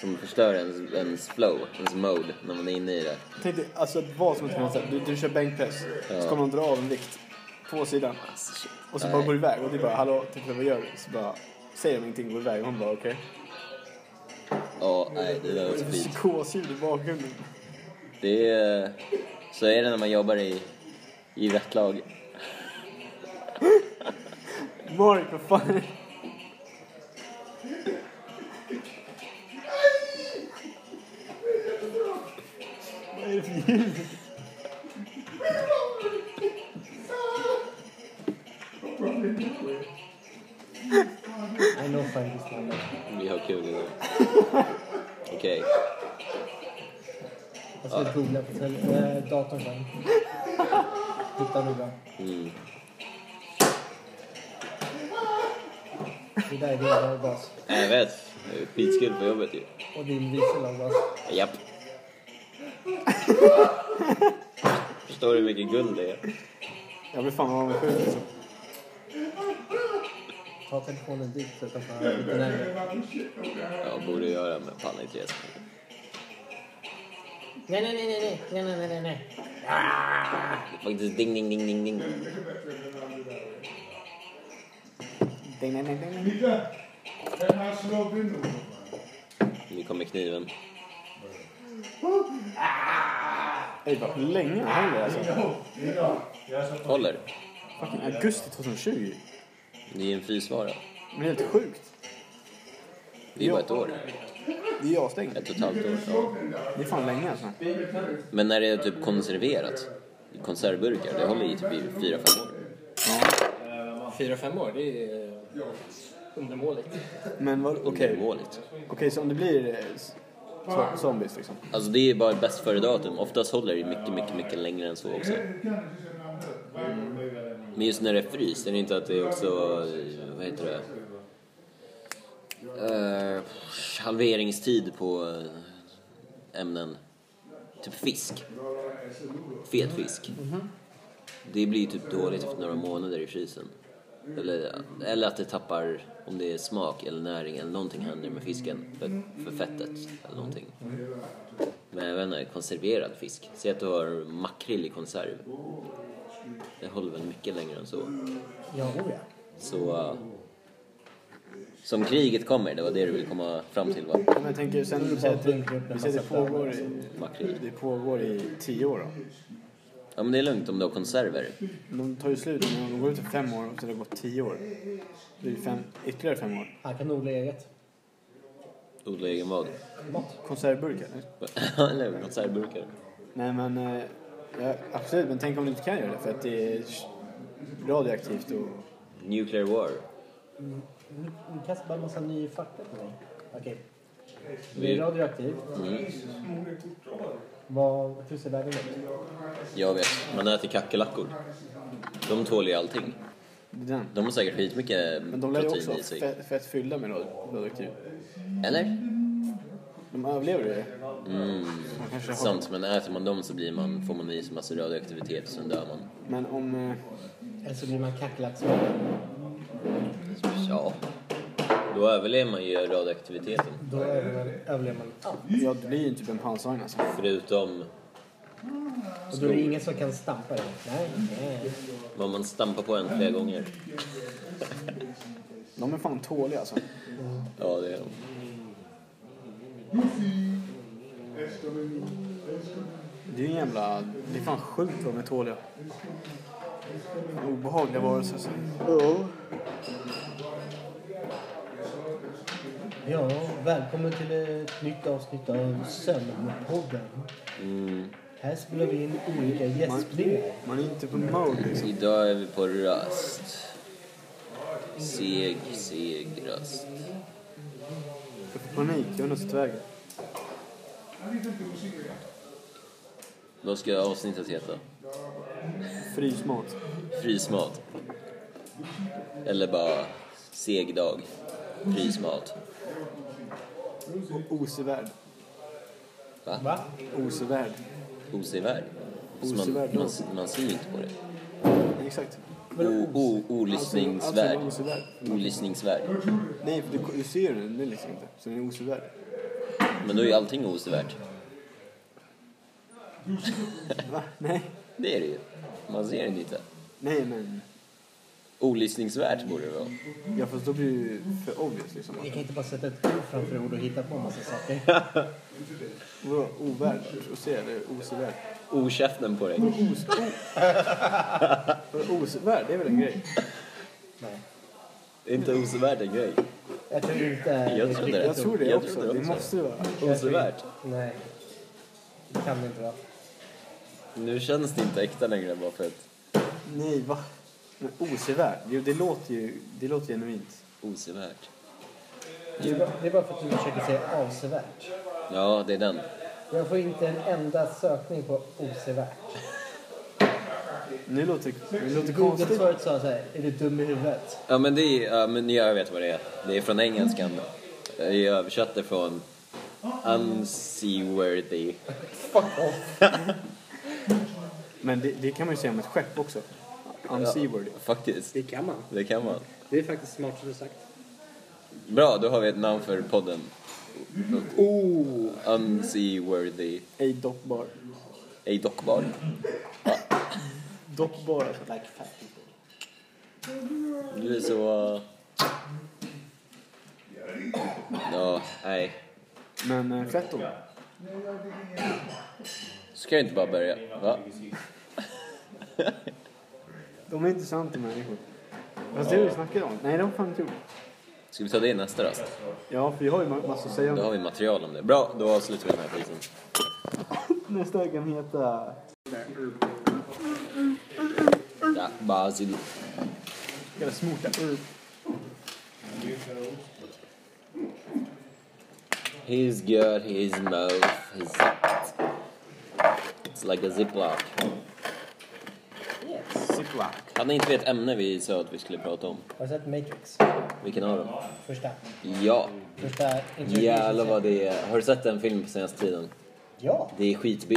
Speaker 2: Som förstör ens, ens flow, ens mode, när man är inne i det.
Speaker 1: Tänk dig alltså vad som helst. kan hända. Du, du kör bänkpress.
Speaker 2: Ja.
Speaker 1: Så kommer de dra av en vikt på sidan.
Speaker 2: Alltså,
Speaker 1: Och så bara
Speaker 2: Nej.
Speaker 1: går du iväg och du bara hallå, titta vad gör du? Så bara säger de ingenting och går iväg. Och hon bara okej.
Speaker 2: Ja, nej, det där var så
Speaker 1: Okay.
Speaker 2: fint.
Speaker 1: Psykosljud i bakgrunden.
Speaker 2: Det är... Så är det när man jobbar i, i rätt lag.
Speaker 1: Mark vad fan. Vad är det för ljud?
Speaker 3: I know find this number.
Speaker 2: Vi har kul idag. Okej.
Speaker 3: Jag ska googla på tel- eh, datorn sen. Hitta nog bra.
Speaker 2: Mm.
Speaker 3: Det där är din laggas.
Speaker 2: Nej, jag vet. Det är skitkul på jobbet ju.
Speaker 3: Och din vice laggas.
Speaker 2: Japp. Förstår du hur mycket guld det är?
Speaker 1: Jag blir fan avundsjuk alltså.
Speaker 3: Ta telefonen dit så kan man lite närmare.
Speaker 2: Jag borde göra med panna i tre sekunder.
Speaker 3: Nej, nej, nej, nej, nej, nej, nej, nej, nej.
Speaker 2: Det är Faktiskt ding, ding, ding, ding, ding.
Speaker 1: Ding, ding, ding, ding.
Speaker 6: Nigga, den här slår vi nog.
Speaker 2: Nu kommer kniven.
Speaker 1: Ey, vad länge har han det alltså?
Speaker 6: Nigga, jag är så på
Speaker 2: Håller.
Speaker 1: Fucking augusti 2020.
Speaker 2: Det är ju en frysvara.
Speaker 1: Men helt sjukt.
Speaker 2: Det är ju bara ett år.
Speaker 1: Det är avstängt.
Speaker 2: Ett och ett halvt år. Ja.
Speaker 1: Det är fan länge alltså.
Speaker 2: Men när det är typ konserverat, i konservburkar, det håller i typ i fyra, fem år.
Speaker 7: Fyra, fem år, det är eh, undermåligt.
Speaker 1: Men vad, okej.
Speaker 2: Undermåligt.
Speaker 1: Okej, så om det blir eh, s- zo- zombies liksom.
Speaker 2: Alltså det är bara ett bäst före-datum. Oftast håller det mycket, mycket, mycket längre än så också. Men just när det är fryst, är det inte att det är också, eh, vad heter det? Eh, halveringstid på eh, ämnen. Typ fisk. Fet fisk. Det blir ju typ dåligt efter några månader i frysen. Eller, eller att det tappar, om det är smak eller näring eller någonting händer med fisken. För, för fettet eller någonting. Men jag vet inte, konserverad fisk. Säg att du har makrill i konserv. Det håller väl mycket längre än så.
Speaker 3: Ja, oh ja.
Speaker 2: Så... eh, som kriget kommer, det var det du ville komma fram till va?
Speaker 1: Ja, Men jag tänker sen, vi säger att det, vi säger att det pågår i,
Speaker 2: Makrill.
Speaker 1: det pågår i tio år då.
Speaker 2: Ja men det är lugnt om du har konserver.
Speaker 1: De tar ju slut om de går ut i fem år och sen har det gått tio år. Det blir fem, ytterligare fem år.
Speaker 3: Han kan odla eget.
Speaker 2: Odla egen vad?
Speaker 3: Mat.
Speaker 1: Konservburkar? eller?
Speaker 2: eller konservburkar.
Speaker 1: Nej men, eh, ja, absolut. Men tänk om du inte kan göra det för att det är radioaktivt och...
Speaker 2: Nuclear war.
Speaker 3: Ni ni kastar bara en massa ny fakta på mig. Okej. Det är radioaktivt.
Speaker 2: Mm.
Speaker 3: Vad, hur ser världen ut?
Speaker 2: Jag vet, man äter kackerlackor. De tål ju allting.
Speaker 1: Det är den.
Speaker 2: De har säkert skitmycket
Speaker 1: Men de lär ju också
Speaker 2: protein i sig.
Speaker 1: fett, fett fyllda med rad- radioaktivt.
Speaker 2: Eller?
Speaker 1: De överlever det.
Speaker 2: Mm.
Speaker 1: Man kanske har...
Speaker 2: Sant, men äter man dem så blir man, får man i sig massa radioaktivitet och sen dör man.
Speaker 1: Men om... eh,
Speaker 3: Eller så blir man kackerlacksmänniska.
Speaker 2: Ja. Då överlever man ju radioaktiviteten.
Speaker 3: Då överlever överlever man allt.
Speaker 1: Ja, det blir ju typ en pansarvagn alltså.
Speaker 2: Förutom
Speaker 3: Och då är det ingen som kan stampa dig. Nej, nej.
Speaker 2: vad man stampar på en flera gånger.
Speaker 1: De är fan tåliga alltså.
Speaker 2: Ja, det är de.
Speaker 1: Det är en jävla... Det är fan sjukt vad de är tåliga. Fan, Obehagliga varelser alltså.
Speaker 3: Ja, välkommen till ett nytt avsnitt av Sömnpodden.
Speaker 2: Mm.
Speaker 3: Här spelar vi in olika gästspelare.
Speaker 1: Man är inte på mode liksom.
Speaker 2: Idag är vi på rast. Seg, seg rast.
Speaker 1: Jag får panik. Jag undrar sitt vägen.
Speaker 2: Vad ska avsnittet heta?
Speaker 1: Frysmat.
Speaker 2: Frysmat. Eller bara seg dag. Frysmat.
Speaker 1: Och Osevärd.
Speaker 2: Va?
Speaker 3: Va?
Speaker 1: Osevärd.
Speaker 2: Osevärd. Så Man,
Speaker 1: Osevärd
Speaker 2: man,
Speaker 1: dag.
Speaker 2: man ser ju inte på det.
Speaker 1: Exakt.
Speaker 2: O, o,
Speaker 1: Alltså, alltså
Speaker 2: olyssningsvärd.
Speaker 1: är osevärd.
Speaker 2: Olyssningsvärd.
Speaker 1: Nej, för du, du ser den nu liksom inte. Så den är osevärd.
Speaker 2: Men då är ju allting osevärt.
Speaker 1: Va? Nej.
Speaker 2: Det är det ju. Man ser den inte.
Speaker 1: Nej, men...
Speaker 2: Olyssningsvärt borde det vara.
Speaker 1: Ja, fast då blir det ju för obvious liksom.
Speaker 3: Vi kan inte bara sätta ett ord framför ord och hitta på en massa saker.
Speaker 1: Vadå? Ovärd? Och se det är osevärd.
Speaker 2: Okäften på dig.
Speaker 1: Os... o- Osevärd, det är väl en grej?
Speaker 3: Nej.
Speaker 2: Det är inte osevärt en grej.
Speaker 3: Jag tror inte
Speaker 2: Jag tror det.
Speaker 1: Jag tror det
Speaker 2: Jag
Speaker 1: också.
Speaker 2: tror det
Speaker 1: Det
Speaker 2: också.
Speaker 1: måste det vara.
Speaker 2: Osevärt.
Speaker 3: Nej. Det kan det inte vara.
Speaker 2: Nu känns det inte äkta längre bara för att
Speaker 1: Nej, va? Men osevärd? Jo, det låter ju det låter genuint.
Speaker 2: osevärt.
Speaker 3: Det är bara- det är bara för att du försöker säga avsevärt.
Speaker 2: Ja, det är den.
Speaker 3: Jag får inte en enda sökning på osevärt.
Speaker 1: Nu låter det låter
Speaker 3: Google
Speaker 1: konstigt.
Speaker 3: förut sa så här, är du dum i huvudet?
Speaker 2: Ja men det är, ja, men jag vet vad det är. Det är från engelskan. Jag översatte från unseaworthy.
Speaker 1: Men det, det kan man ju säga om ett skepp också. Unseaworthy.
Speaker 2: Faktiskt,
Speaker 8: Det kan man.
Speaker 2: det kan man.
Speaker 8: Det är faktiskt smartare sagt.
Speaker 2: Bra, då har vi ett namn för podden.
Speaker 8: Oh!
Speaker 2: Unseaworthy.
Speaker 1: Ej dockbar.
Speaker 2: Ej dockbar.
Speaker 1: Dockbar alltså.
Speaker 2: Du är så... eh, Ja, nej.
Speaker 1: Men eh, fett om.
Speaker 2: Ska jag inte bara börja? Va?
Speaker 1: De är intressanta människor. Fast det har vi snackat om. Nej, det har vi fan inte gjort.
Speaker 2: Ska vi ta det i nästa rast?
Speaker 1: Ja, för jag har ju ma- massa att säga om
Speaker 2: Då
Speaker 1: det.
Speaker 2: har vi material om det. Bra, då avslutar vi den här skiten.
Speaker 1: Nästa kan heta...
Speaker 2: Ja, Basil.
Speaker 1: Jävla smorta. Urp.
Speaker 2: He's good, he's mouth, he's zipped. It's like a ziplock.
Speaker 1: Ziplock.
Speaker 2: Hade inte vi ett ämne vi sa att vi skulle prata om?
Speaker 3: Har du sett Matrix?
Speaker 2: Vilken av dem?
Speaker 3: Första.
Speaker 2: Ja,
Speaker 3: Första introduction.
Speaker 2: jävlar vad det är. Har du sett den filmen på senaste tiden?
Speaker 3: Ja.
Speaker 2: Det är skit B.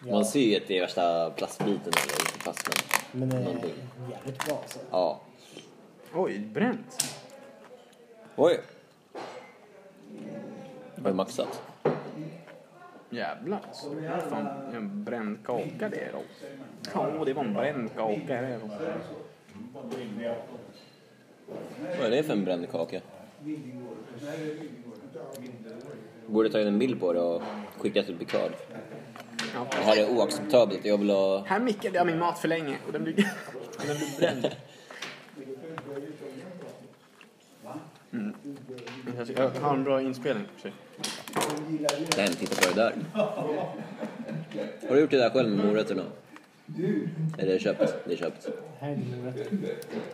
Speaker 2: Man
Speaker 3: Ja.
Speaker 2: ser ju att det är värsta plastbiten eller inte fast men...
Speaker 3: Men eh,
Speaker 2: Någonting.
Speaker 3: jävligt bra alltså.
Speaker 2: Ja.
Speaker 1: Oj, bränt.
Speaker 2: Oj! Har du maxat?
Speaker 1: Jävlar alltså. Det är fan en bränd kaka det är då. Ja, det var en bränd kaka det är då.
Speaker 2: Vad är det för en bränd kaka? Borde ta in en bild på det och skicka till Picard.
Speaker 1: Ja.
Speaker 2: Det här är oacceptabelt, jag vill ha...
Speaker 1: Här mickade jag min mat för länge och den blir, den blir bränd. Mm. Jag- Jag har en bra inspelning. i och för sig.
Speaker 2: Nej, titta på det där. Har du gjort det där själv med morötterna? Är det köpt? Det är köpt.
Speaker 3: Här är din morot.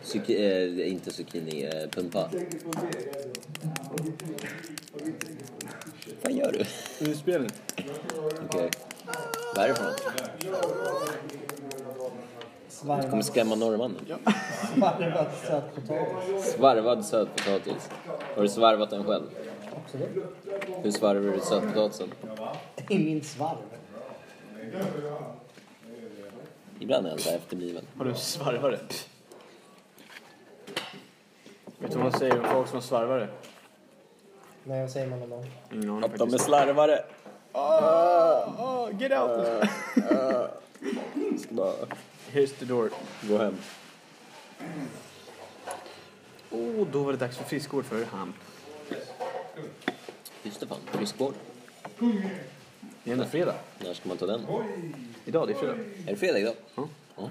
Speaker 2: Zucchi- eh, det är inte zucchini, eh, pumpa. Vad gör du?
Speaker 1: Inspelning?
Speaker 2: Okej. Vad är det för något? Du kommer
Speaker 3: Svarvad,
Speaker 2: skrämma norrmannen.
Speaker 3: svarvad sötpotatis.
Speaker 2: Svarvad sötpotatis. Har du svarvat den själv?
Speaker 3: Absolut.
Speaker 2: Hur svarvar du sötpotatisen?
Speaker 3: I min svarv.
Speaker 2: Ibland är jag så här efterbliven.
Speaker 1: Har du en svarvare? Vet du vad man säger om folk som har svarvare?
Speaker 3: Nej, vad säger man om dem?
Speaker 1: Ingen aning
Speaker 2: Att de är
Speaker 1: faktiskt.
Speaker 2: slarvare.
Speaker 1: Åh, åh, get out!
Speaker 2: Ska bara
Speaker 1: Here's the door.
Speaker 2: gå hem.
Speaker 1: Oh, då var det dags för friskvård för Hamp.
Speaker 2: Just det fan, friskvård.
Speaker 1: Det är ändå fredag.
Speaker 2: När ska man ta den?
Speaker 1: Idag, det är fredag.
Speaker 2: Är det fredag idag?
Speaker 1: Ja.
Speaker 2: Ja.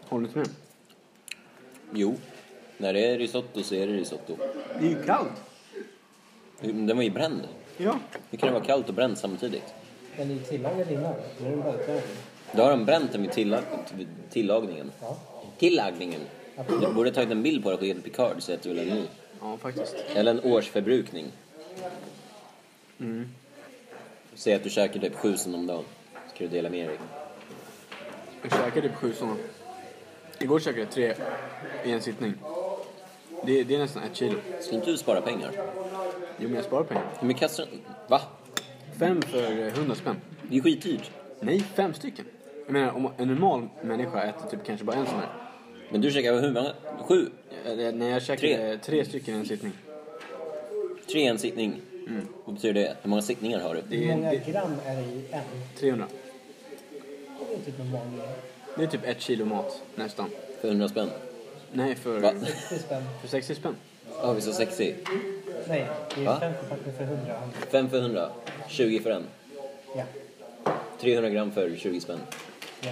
Speaker 1: Håller du inte med?
Speaker 2: Jo. När det är risotto så är det risotto. Mm,
Speaker 1: Det är ju kallt.
Speaker 2: Den var ju bränd.
Speaker 1: Ja.
Speaker 2: Hur kan det vara kallt och bränd samtidigt?
Speaker 3: Den är ju tillagad innan. Nu är den bara utlagd.
Speaker 2: Då har de bränt den vid, tillag- vid tillagningen.
Speaker 3: Ja.
Speaker 2: Tillagningen? Jag borde tagit en bild på det och skickat till Picard så att du vill ha en ny.
Speaker 1: Ja, faktiskt.
Speaker 2: Eller en årsförbrukning. Säg att du käkar typ sju sen om dagen. Ska du dela med dig.
Speaker 1: Jag käkar typ sju sådana. Igår käkade jag tre i en sittning. Det, det är nästan ett kilo.
Speaker 2: Ska inte du spara pengar?
Speaker 1: Jo, men jag sparar pengar.
Speaker 2: Hur mycket kastar Va?
Speaker 1: Fem för eh, 100 spänn.
Speaker 2: Det är skitdyrt.
Speaker 1: Nej, fem stycken. Jag menar, om en normal människa äter typ kanske bara en sån här.
Speaker 2: Men du käkar hur många? Sju?
Speaker 1: Eh, eh, När jag käkade
Speaker 2: Tre.
Speaker 1: tre, tre stycken i en sittning.
Speaker 2: Tre i en sittning?
Speaker 1: Mm.
Speaker 2: Vad betyder det? Hur många sittningar har du?
Speaker 1: Det
Speaker 3: Hur
Speaker 1: är, det
Speaker 3: många
Speaker 1: är
Speaker 3: gram är det i en?
Speaker 1: 300.
Speaker 3: Det är typ en vanlig.
Speaker 1: Det är typ ett kilo mat, nästan.
Speaker 2: För 100 spänn?
Speaker 1: Nej, för,
Speaker 2: Va?
Speaker 3: Det är spänn.
Speaker 1: för 60 spänn.
Speaker 2: Har vi så sexig?
Speaker 3: Nej, det
Speaker 2: Va?
Speaker 3: är fem förpackningar för 100.
Speaker 2: Fem för 100, 20 för en.
Speaker 3: Ja.
Speaker 2: 300 gram för 20 spänn.
Speaker 3: Ja.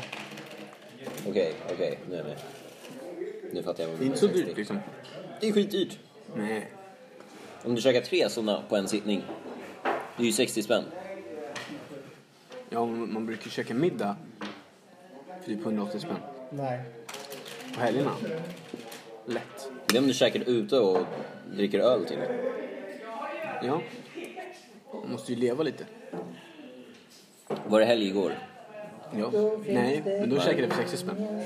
Speaker 2: Okej, okej, nu är jag med. Nu fattar jag vad
Speaker 1: Det är inte så dyrt liksom.
Speaker 2: Det är skitdyrt.
Speaker 1: Nej.
Speaker 2: Om du käkar tre sådana på en sittning, det är ju 60 spänn.
Speaker 1: Ja, man man brukar ju käka middag för typ 180 spänn.
Speaker 3: Nej.
Speaker 1: På helgerna. Lätt.
Speaker 2: Det är om du käkar ute och dricker öl till.
Speaker 1: Ja. Man måste ju leva lite.
Speaker 2: Var det helg igår?
Speaker 1: Ja. Nej, men då käkade jag för 60 spänn.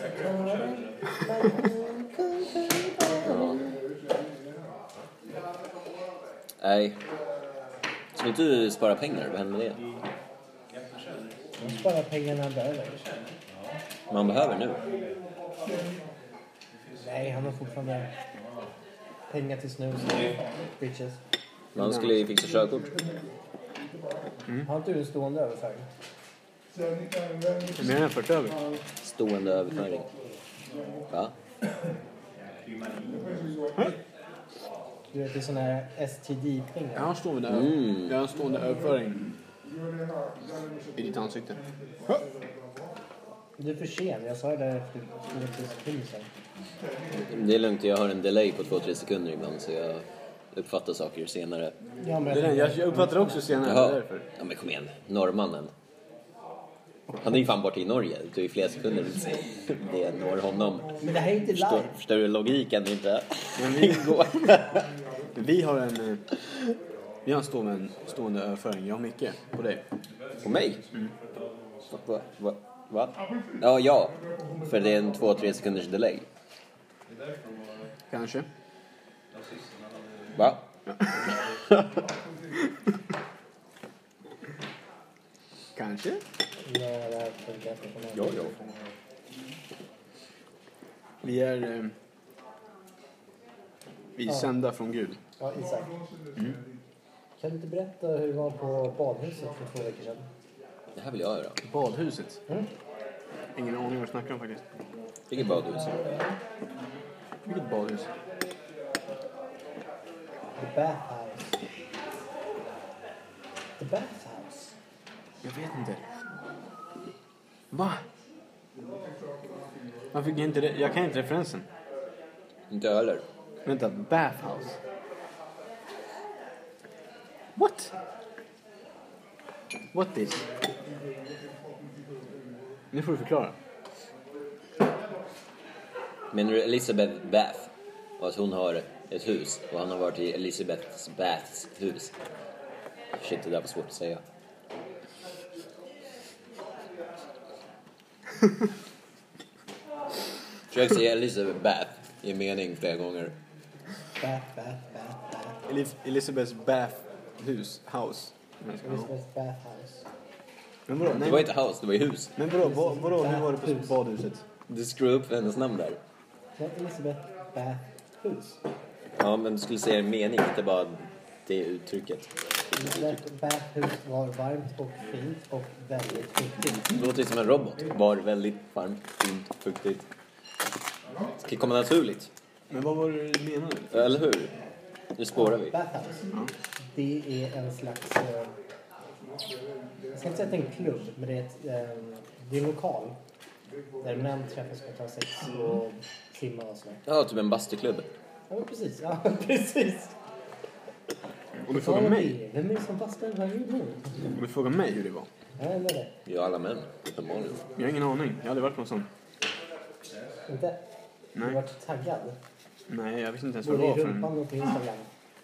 Speaker 2: Nej. Ska inte du spara pengar? Vad händer med det?
Speaker 3: De sparar pengarna han behöver.
Speaker 2: Man behöver nu.
Speaker 3: Nej, han har fortfarande pengar till snus. Bitches.
Speaker 2: Man skulle ju fixa körkort.
Speaker 3: Har inte du en stående överföring?
Speaker 1: Det är mer än jag fört över.
Speaker 2: Stående överföring. Va?
Speaker 3: Du vet, det är sådana här STD-pengar.
Speaker 1: Jag har en stående, ö-
Speaker 2: Mm.
Speaker 1: jag har en stående överföring. I ditt ansikte.
Speaker 3: Du är för sen. Jag sa ju det efter 2000 sen.
Speaker 2: Det är lugnt, jag har en delay på 2-3 sekunder ibland så jag uppfattar saker senare.
Speaker 3: Ja, men
Speaker 1: Det är den, jag, jag uppfattar också senare.
Speaker 2: Jaha.
Speaker 1: det är Därför.
Speaker 2: Ja men kom igen, norrmannen. Han är ju fan borta i Norge. Det tog ju flera sekunder tills det når honom.
Speaker 3: Men det här är inte
Speaker 2: Förstår,
Speaker 3: live.
Speaker 2: förstår du logiken? Det är inte...
Speaker 1: Men vi, vi har en... eh, Vi har en stående, stående överföring, jag och Micke, på dig.
Speaker 2: På mig? Va? va, va, va? Ja, ja. För det är en 2-3 sekunders delay.
Speaker 1: Kanske.
Speaker 2: Va?
Speaker 1: Kanske.
Speaker 3: Nej, det här funkar inte för mig.
Speaker 2: ja.
Speaker 1: Vi är... eh, Vi är sända från Gud.
Speaker 3: Ja, Isak.
Speaker 2: Mm.
Speaker 3: Kan du inte berätta hur det var på badhuset för två veckor sedan?
Speaker 2: Det här vill jag göra.
Speaker 1: Badhuset.
Speaker 3: Mm.
Speaker 1: Ingen aning vad du snackar om faktiskt.
Speaker 2: Vilket badhus?
Speaker 1: Vilket badhus?
Speaker 3: The bathhouse. The bathhouse?
Speaker 1: Jag vet inte. Va? Varför kan jag inte det? Jag kan inte referensen.
Speaker 2: Inte jag heller.
Speaker 1: Vänta, bathhouse? What? What is? Nu får du förklara.
Speaker 2: Menar du Elizabeth Bath? Och att hon har ett hus och han har varit i Elizabeth Baths hus. Shit, det där var svårt att säga. Försök säga Elizabeth Bath i en mening flera gånger.
Speaker 3: Bath, bath, bath, bath.
Speaker 1: Elis- Elizabeths bathhus, house.
Speaker 3: Elizabeth bathhouse.
Speaker 1: Men vadå?
Speaker 2: Det
Speaker 1: Nej,
Speaker 2: var inte house, det var ju hus.
Speaker 1: Men vadå, vad, vadå, hur var det på
Speaker 3: Bathhus.
Speaker 1: badhuset?
Speaker 2: Du skrev upp hennes namn där.
Speaker 3: Ja, Elizabeth bathhouse.
Speaker 2: Ja, men du skulle säga en mening, inte bara det uttrycket.
Speaker 3: Elizabeth bathhouse var varmt och fint och väldigt fuktigt.
Speaker 2: Det låter ju som en robot. Var väldigt varmt, fint, fuktigt. Det ska komma naturligt.
Speaker 1: Men vad var det du menade?
Speaker 2: Eller hur? Nu spårar vi.
Speaker 3: Bathhouse. Det är en slags... eh, Jag ska inte säga att det är en klubb, men det är, ett, eh, det är en lokal. Där män träffas för att ha sex och simma och sådär.
Speaker 2: Ja, typ en bastuklubb.
Speaker 3: Ja, men precis. Ja, precis.
Speaker 1: Om du frågar mig,
Speaker 3: Vem är det som bastar i den här rummen?
Speaker 1: om du frågar mig hur det var.
Speaker 3: Ja, jag undrar det.
Speaker 2: Ja, alla män. Uppenbarligen.
Speaker 1: Jag har ingen aning. Jag har aldrig varit på en sån.
Speaker 3: Inte? Du
Speaker 1: Nej.
Speaker 3: vart taggad.
Speaker 1: Nej, jag visste inte ens vad det
Speaker 3: Både i
Speaker 1: var förrän...
Speaker 3: rumpan och på Instagram.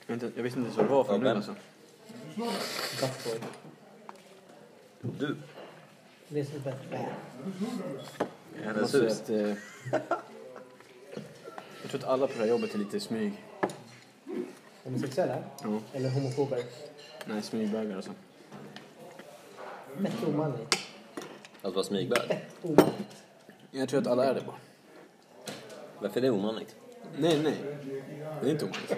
Speaker 1: Jag, vet inte- jag visste inte ens vad det var förrän nu
Speaker 2: Ja, vem?
Speaker 1: alltså.
Speaker 3: Buttboy.
Speaker 2: Du?
Speaker 3: Det är så bättre.
Speaker 2: Hennes
Speaker 1: Jag måste
Speaker 2: hus.
Speaker 1: säga att, eh, jag tror att alla på det här jobbet är lite smyg.
Speaker 3: Homosexuella?
Speaker 1: Ja.
Speaker 3: Eller homofober?
Speaker 1: Nej, smygbögar alltså.
Speaker 3: Fett omanligt.
Speaker 2: Att vara smygbög.
Speaker 3: Fett omanligt.
Speaker 1: Jag tror att alla är det bara.
Speaker 2: Varför är det omanligt?
Speaker 1: Nej, nej. Det är inte omöjligt.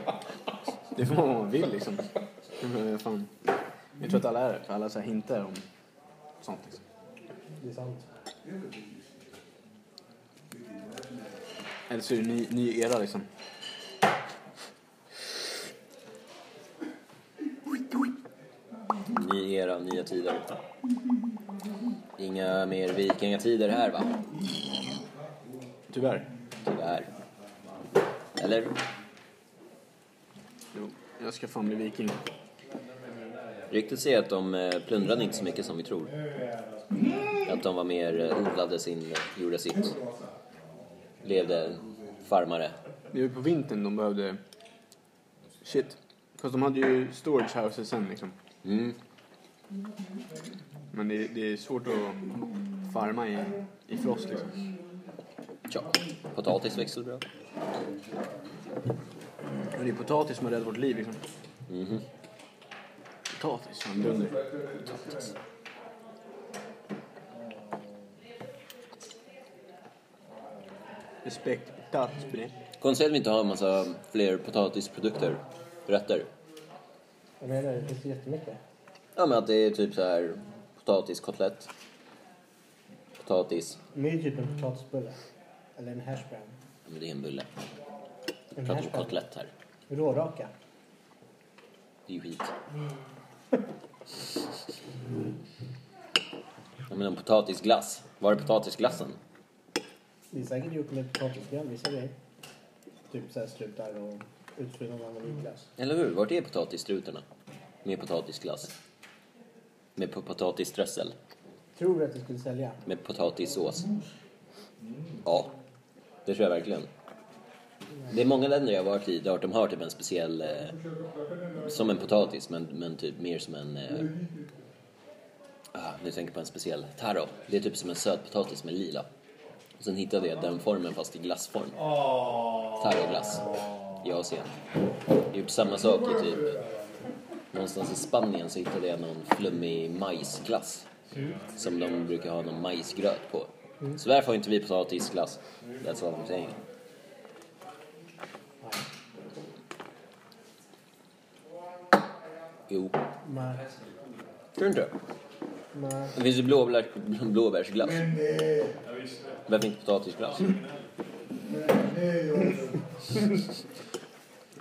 Speaker 1: Det får man vad man vill liksom. Men vad fan. Jag tror att alla är det, för alla så här hintar om sånt liksom.
Speaker 3: Det är sant.
Speaker 1: Eller så är det en ny, ny era liksom.
Speaker 2: Ny era, nya tider. Inga mer vikingatider här, va?
Speaker 1: Tyvärr.
Speaker 2: Tyvärr. Eller?
Speaker 1: Jo, jag ska fan bli viking.
Speaker 2: Ryktet säger att de eh, plundrade inte så mycket som vi tror. Att de var mer, eh, odlade sin, gjorde sitt. Levde farmare.
Speaker 1: Det var ju på vintern de behövde shit. Fast de hade ju storage houses sen liksom.
Speaker 2: Mm.
Speaker 1: Men det, det är svårt att farma i, i frost liksom.
Speaker 2: Tja, potatis växer bra.
Speaker 1: Men det är potatis som har räddat vårt liv liksom. Potatis, fan dunder. Respekt, potatis på det.
Speaker 2: Konstigt att vi inte har en massa fler potatisprodukter, rätter.
Speaker 3: Jag menar, det finns ju jättemycket.
Speaker 2: Ja men att det är typ så här potatiskotlett. Potatis.
Speaker 3: Men det är ju typ en potatisbulle. Eller en hash brown.
Speaker 2: Ja, men det är en bulle. Vi
Speaker 3: En
Speaker 2: pratar
Speaker 3: hash
Speaker 2: om
Speaker 3: brown.
Speaker 2: kotlett här.
Speaker 3: Råraka.
Speaker 2: Det är ju skit. Ja men en potatisglass. Var är potatisglassen?
Speaker 3: Det är säkert gjort med potatisgröt, vissa grejer. Typ såhär strutar och utfyllnad av vaniljglass.
Speaker 2: Eller hur? Vart är potatisstrutarna? Med potatisglass. Med po- potatisströssel.
Speaker 3: Tror du att det skulle sälja?
Speaker 2: Med potatissås. Ja, det tror jag verkligen. Det är många länder jag har varit i där de har typ en speciell... Eh, som en potatis, men, men typ mer som en... Eh, ah, nu tänker jag på en speciell taro. Det är typ som en sötpotatis med lila. Och sen hittade jag den formen fast i glassform. Taroglass. I Asien. Gjort samma sak i typ... Någonstans i Spanien så hittade jag någon flummig majsglass som de brukar ha någon majsgröt på. Så därför har inte vi potatisglass. That's what I'm saying. Jo.
Speaker 3: Nej.
Speaker 2: Tror du inte?
Speaker 3: Nej.
Speaker 2: Det finns ju blåbär, blåbärsglass. Varför inte potatisglass?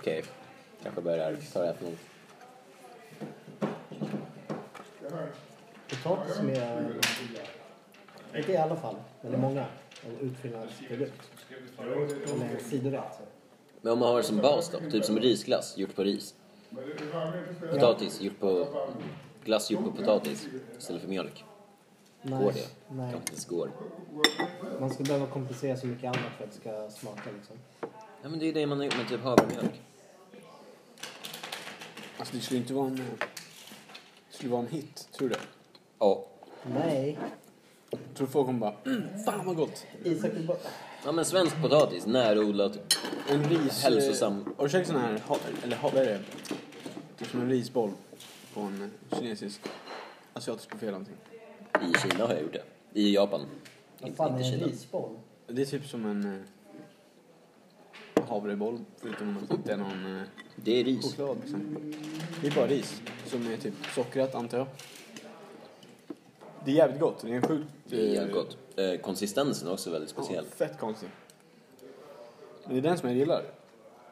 Speaker 2: Okej, kanske börjar ta det här för något.
Speaker 3: Potatis med... Inte i alla fall, men i många. En utfyllnadsprodukt. Eller en sidorätt.
Speaker 2: Men om man har det som bas då? Typ som risglass gjort på ris. Potatis gjort på... Glass gjort på potatis istället för mjölk. Går det?
Speaker 3: Nej.
Speaker 2: Kanske inte ens går.
Speaker 3: Man ska behöva kompensera så mycket annat för att det ska smaka liksom.
Speaker 2: Ja men det är det man har gjort med typ havremjölk.
Speaker 1: Alltså det skulle inte vara en... Det skulle vara en hit, tror du det?
Speaker 2: Ja.
Speaker 3: Nej.
Speaker 1: Tror folk kommer bara mm, fan vad gott.
Speaker 3: Isak vill bara...
Speaker 2: Ja men svensk potatis, närodlat.
Speaker 1: En ris...
Speaker 2: Hälsosam.
Speaker 1: Har du käkat sån här, ha, eller ha, vad är det? Typ som en risboll på en kinesisk, asiatisk buffé eller någonting.
Speaker 2: I Kina har jag gjort det. I Japan.
Speaker 3: Vad
Speaker 2: Inte,
Speaker 3: fan
Speaker 2: inte
Speaker 3: är en
Speaker 2: Kina.
Speaker 3: risboll?
Speaker 1: Det är typ som en eh, havreboll förutom att det inte är någon eh,
Speaker 2: Det är ris.
Speaker 1: choklad liksom. Det är bara ris som är typ sockrat antar jag. Det är jävligt gott. Det är en sjukt...
Speaker 2: Det är jävligt
Speaker 1: eh,
Speaker 2: gott. Eh, Konsistensen är också väldigt
Speaker 1: ja,
Speaker 2: speciell.
Speaker 1: Fett konstig. Men det är den som jag gillar.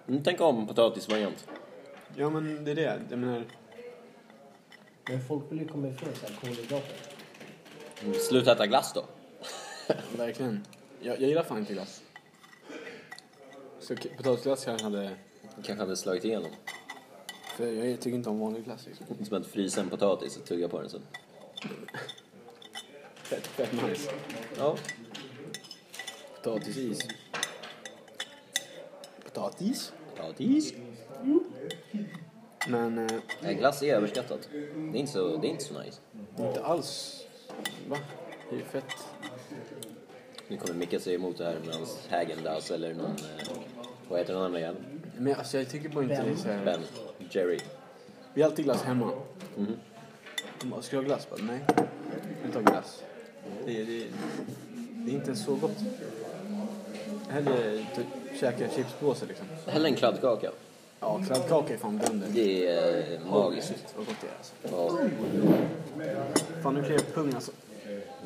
Speaker 2: Mm, tänk om potatisvariant.
Speaker 1: Ja men det är det. Jag menar...
Speaker 3: Men folk vill ju komma ifrån så här kolhydrater.
Speaker 2: Mm, Sluta äta glass då.
Speaker 1: Verkligen. Jag, jag gillar fan inte glass. Så k- potatisglass kanske hade...
Speaker 2: Kanske hade slagit igenom.
Speaker 1: För jag tycker inte om vanlig glass liksom.
Speaker 2: Som att frysa en potatis och tugga på den sen.
Speaker 1: Fett, fett nice.
Speaker 2: Ja.
Speaker 1: Potatisis. Potatis?
Speaker 2: Potatis.
Speaker 1: Men eh,
Speaker 2: Nej, glass är överskattat. Det är inte så, det är inte så nice.
Speaker 1: inte alls. Va? Det är ju fett.
Speaker 2: Nu kommer Micke säga emot det här med hans Häagen-Dazs eller någon... Eh, vad heter den andra igen?
Speaker 1: Men alltså jag tycker bara inte det är så här.
Speaker 2: Ben. Jerry.
Speaker 1: Vi har alltid glass hemma. Mm. De bara, Ska jag ha glass? Bara, Nej. Jag tar glass. Det är, det, är, det är inte ens så gott. Hellre typ, käka chipspåse liksom.
Speaker 2: Hellre en kladdkaka.
Speaker 1: Ja, kladdkaka är fan dunder.
Speaker 2: Det är eh, magiskt.
Speaker 1: Shit, vad gott det är alltså.
Speaker 2: Ja,
Speaker 1: Fan, nu kliar jag på pungen alltså.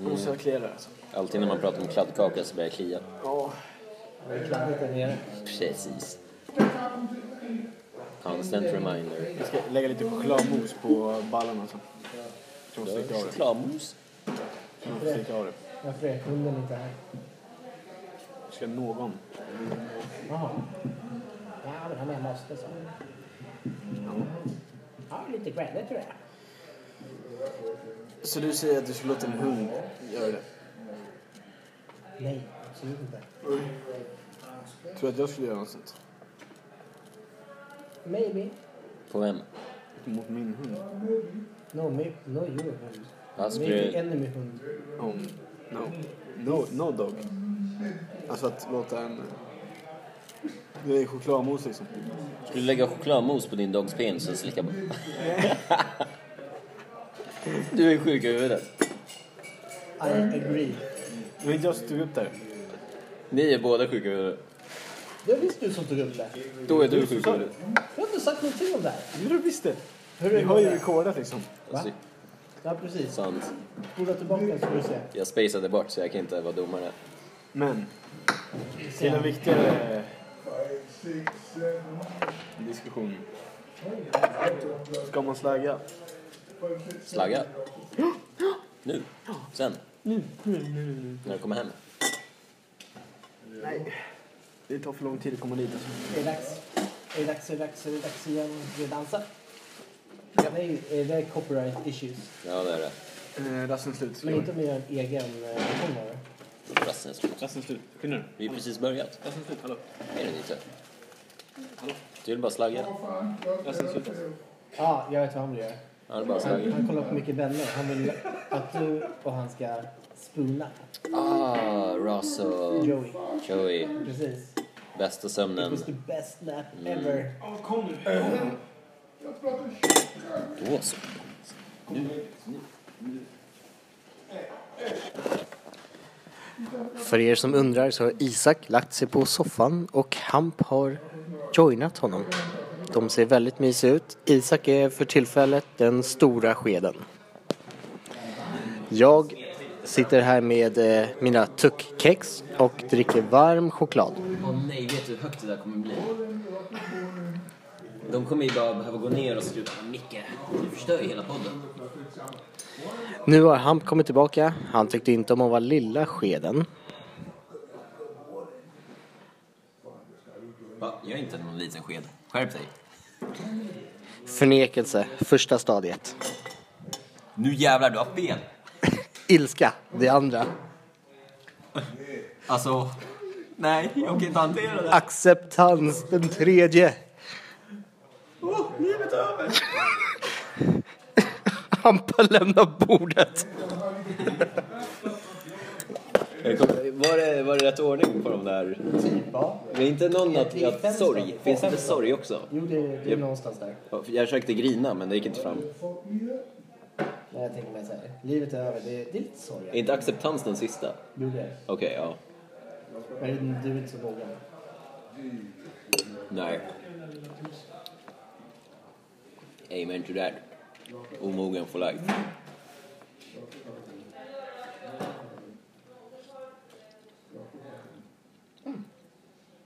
Speaker 1: Nu måste jag klia där alltså.
Speaker 2: alltid när man pratar om kladdkaka så börjar jag klia.
Speaker 1: Ja.
Speaker 3: Kladdigt där nere.
Speaker 2: Precis. Constant reminder.
Speaker 1: Jag ska lägga lite chokladmos på ballarna alltså. Jag måste sticka av det.
Speaker 2: Chokladmos.
Speaker 1: Jag måste sticka av det.
Speaker 3: Varför är hunden inte här?
Speaker 1: Ska någon?
Speaker 3: Jaha. Ja, men han är hemma hos dig, sa han. Ja, lite grädde tror jag.
Speaker 1: Så du säger att du skulle låta en hund göra det?
Speaker 3: Nej, absolut inte.
Speaker 1: Tror du att jag skulle göra något sånt?
Speaker 3: Maybe.
Speaker 2: På vem?
Speaker 1: Mot min hund?
Speaker 3: No, maybe. No, you hund.
Speaker 2: Ja, skulle
Speaker 3: Maybe
Speaker 2: du-
Speaker 3: enemy hund.
Speaker 1: Om... No. No, no dog. Alltså att låta en... Det är chokladmos liksom.
Speaker 2: Skulle du lägga chokladmos på din dogs penis och slicka på? du är sjuk i huvudet.
Speaker 3: I agree.
Speaker 1: Men jag stod upp där.
Speaker 2: Ni är båda sjuka i huvudet.
Speaker 3: Det var visst du som tog upp det.
Speaker 2: Då är du sjuk i huvudet.
Speaker 3: Jag har inte sagt någonting om det här.
Speaker 1: Jo, du visste.
Speaker 3: Hur är
Speaker 1: Vi
Speaker 3: det
Speaker 1: har ju
Speaker 3: med det?
Speaker 1: rekordat liksom.
Speaker 2: Alltså,
Speaker 3: Ja, precis.
Speaker 2: sant.
Speaker 3: Spola tillbaka så får du se.
Speaker 2: Jag spacade bort så jag kan inte vara domare.
Speaker 1: Men till en
Speaker 3: Sen,
Speaker 1: viktigare diskussion. Ska man slagga?
Speaker 2: Slagga. Nu. Sen. När du kommer hem.
Speaker 1: Det tar för lång tid att komma dit. Alltså.
Speaker 3: är det dags? Är det dags, är det dags, är det dags igen? Ska vi dansa? Nej, eh, det är copyright issues.
Speaker 2: Ja, det är det.
Speaker 1: Eh, rasten är slut.
Speaker 3: Men inte om vi gör en egen eh, version av det.
Speaker 2: Rasten är slut.
Speaker 1: Rasten är slut. Skynda dig.
Speaker 2: Vi har precis börjat.
Speaker 1: Rasten är slut. Hallå.
Speaker 2: Är det inte? Du vill bara slagga.
Speaker 1: Rasten är slut. Alltså.
Speaker 3: Ja, jag vet vad han vill göra.
Speaker 2: Ja, det är bara
Speaker 3: Han,
Speaker 2: slagga.
Speaker 3: han kollar på mycket vänner. Han vill att du och han ska spoona
Speaker 2: Ah, Ross och
Speaker 3: Joey.
Speaker 2: Joey.
Speaker 3: Precis.
Speaker 2: Bästa
Speaker 3: It
Speaker 2: sömnen.
Speaker 3: was the best nap ever.
Speaker 2: Då så.
Speaker 9: För er som undrar så har Isak lagt sig på soffan och Hamp har joinat honom. De ser väldigt mysiga ut. Isak är för tillfället den stora skeden. Jag sitter här med eh, mina tuckkex och dricker varm choklad.
Speaker 2: Åh nej, vet du hur högt det där kommer bli? De kommer ju bara behöva gå ner och skruva på Micke. Du förstör ju hela podden.
Speaker 9: Nu har Hamp kommit tillbaka. Han tyckte inte om att vara lilla skeden.
Speaker 2: Va? Jag är inte någon liten sked. Skärp dig.
Speaker 9: Förnekelse, första stadiet.
Speaker 2: Nu jävlar, du har fel!
Speaker 9: Ilska, det andra.
Speaker 2: Alltså, nej, jag kan inte hantera det.
Speaker 9: Acceptans, den tredje.
Speaker 2: Åh, livet är över!
Speaker 9: Hampa lämnar bordet.
Speaker 2: Var det, var det rätt ordning på de där?
Speaker 3: Typ, ja.
Speaker 2: Det är inte någon att,
Speaker 3: Det är fem
Speaker 2: att sorg.
Speaker 3: stadier.
Speaker 2: Finns det inte sorg också?
Speaker 3: Jo, det, det är
Speaker 2: Japp.
Speaker 3: någonstans där.
Speaker 2: Ja, för Jag försökte grina, men det gick inte fram.
Speaker 3: Men jag tänker mig så här. Livet är över. Det, det är lite sorg.
Speaker 2: Är inte acceptans den sista?
Speaker 3: Jo, det är det.
Speaker 2: Okej, ja.
Speaker 3: Men du är inte så vågad.
Speaker 2: Nej. Amen to that. Omogen for life.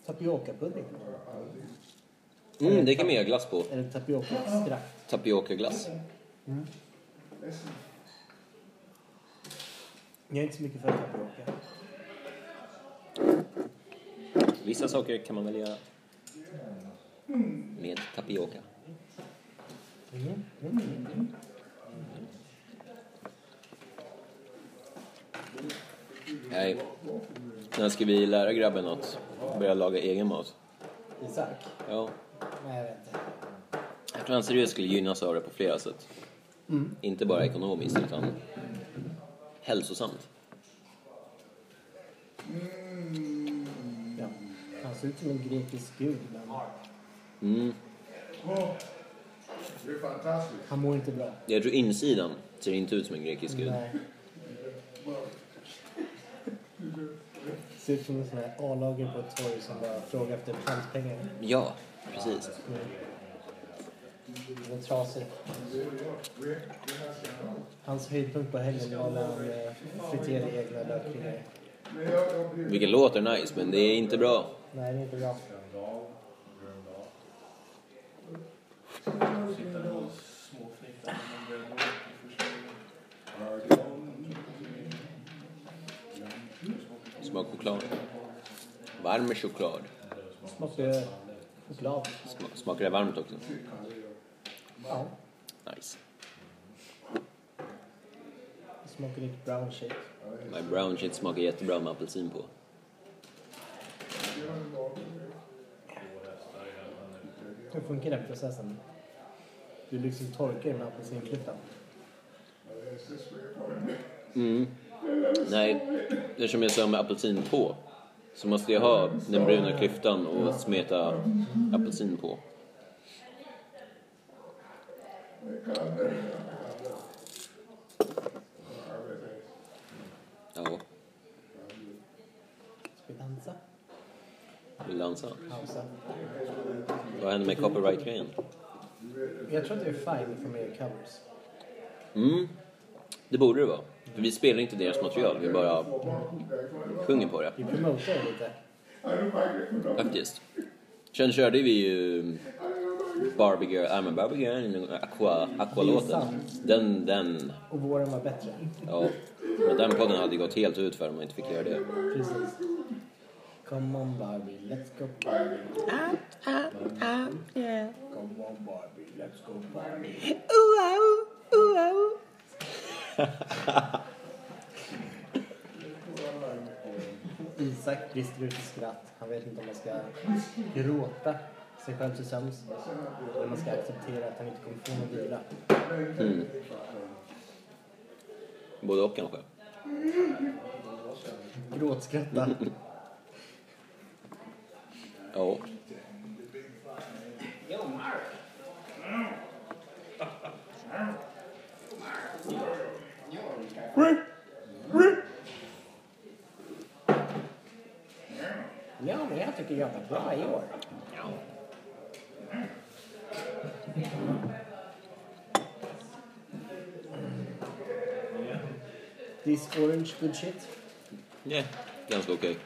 Speaker 3: Tapiocapudding.
Speaker 2: Mm, det kan man göra glass på.
Speaker 3: Eller tapiocaextrakt.
Speaker 2: Tapiocaglass.
Speaker 3: Jag är inte så mycket för tapioca.
Speaker 2: Vissa saker kan man väl göra med tapioca. Nej, när ska vi lära grabben något? Börja laga egen mat?
Speaker 3: Isak?
Speaker 2: Ja,
Speaker 3: Nej, jag vet inte.
Speaker 2: jag tror han seriöst skulle gynnas av det på flera sätt. Inte bara ekonomiskt, utan hälsosamt.
Speaker 3: Ja. Han ser ut som en grekisk gud, men
Speaker 2: Mm.
Speaker 6: Det är fantastiskt.
Speaker 3: han mår inte bra.
Speaker 2: Jag tror insidan ser inte ut som en grekisk gud.
Speaker 3: Nej. Ser ut som en sån här A-lager på ett torg som bara frågar efter pantpengar.
Speaker 2: Ja, precis.
Speaker 3: Den är trasig. Hans höjdpunkt på helgen var när han eh, friterade egna lökringar.
Speaker 2: Vilken låt är nice, men det är inte bra.
Speaker 3: Nej, det är inte bra.
Speaker 2: Smak choklad. Varm choklad.
Speaker 3: Smakar choklad.
Speaker 2: Sma- Smakar det varmt också?
Speaker 3: Ja.
Speaker 2: Nice.
Speaker 3: Smakar lite brown shake.
Speaker 2: My brown shit smakar jättebra med apelsin på.
Speaker 3: Hur funkar den processen? Du liksom torkar den med apelsinklyftan.
Speaker 2: Nej, eftersom jag sa med apelsin på så måste jag ha den bruna klyftan och smeta apelsin på. Ja,
Speaker 3: Ska vi dansa?
Speaker 2: vill du dansa?
Speaker 3: Pausa.
Speaker 2: Vad händer med copyright-grejen?
Speaker 3: Jag tror att det är fine för mer covers.
Speaker 2: Mm, det borde det vara. För vi spelar inte deras material, vi bara sjunger på det.
Speaker 3: Vi promotar det lite.
Speaker 2: Faktiskt. Sen körde vi ju Barbie Girl, I'm a Barbie Girl, Aqua, Aqua-låten. Den, den,
Speaker 3: Och våren var bättre.
Speaker 2: ja. Men den podden hade ju gått helt ut för om man inte fick göra det.
Speaker 3: Precis. Come on Barbie, let's go Barbie.
Speaker 4: Ah, Yeah.
Speaker 3: Come on Barbie, let's go Barbie.
Speaker 4: Ooh, ah, ooh, ooh.
Speaker 3: Isak brister ut i skratt. Han vet inte om man ska gråta sig själv till sömns. Eller om man ska acceptera att han inte kommer få någon vila.
Speaker 2: Både och kanske.
Speaker 3: Gråtskratta.
Speaker 2: Ja.
Speaker 3: ja, men jag tycker jag var bra i år. This orange good shit.
Speaker 2: Yeah. Ganska okej.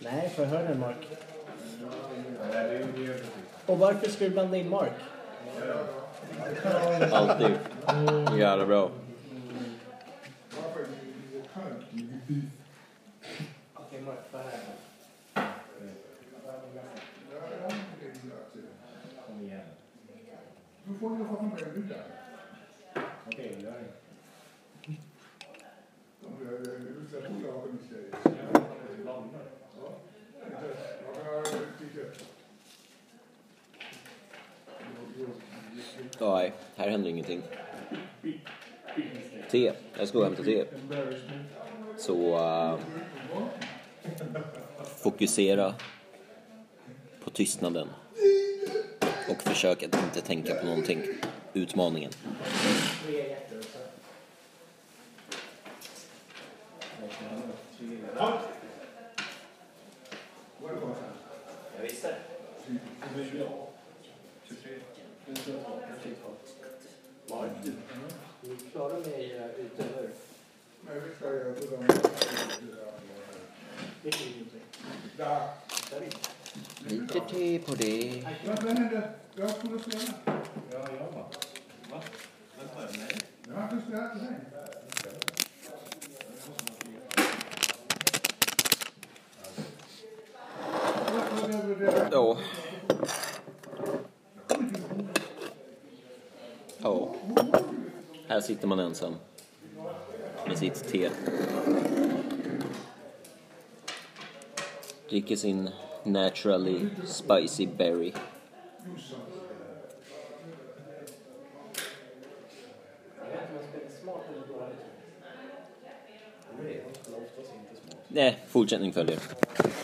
Speaker 3: Nej, förhör den Mark. Och varför ska du blanda in Mark?
Speaker 2: Alltid. Jävla bra. Ja, nej. Här händer ingenting. Te. Jag ska gå och hämta te. Så... eh, fokusera på tystnaden. Och försök att inte tänka på någonting. Utmaningen. Lite te på det.
Speaker 6: Vad hände? Jag skulle spela. Ja, jag va? Vänta, nej. Jag har inte spelat nej.
Speaker 2: Ja. Ja. Här sitter man ensam. Med sitt te. Dricker sin naturally spicy berry. Nej, Eh, fortsättning följer.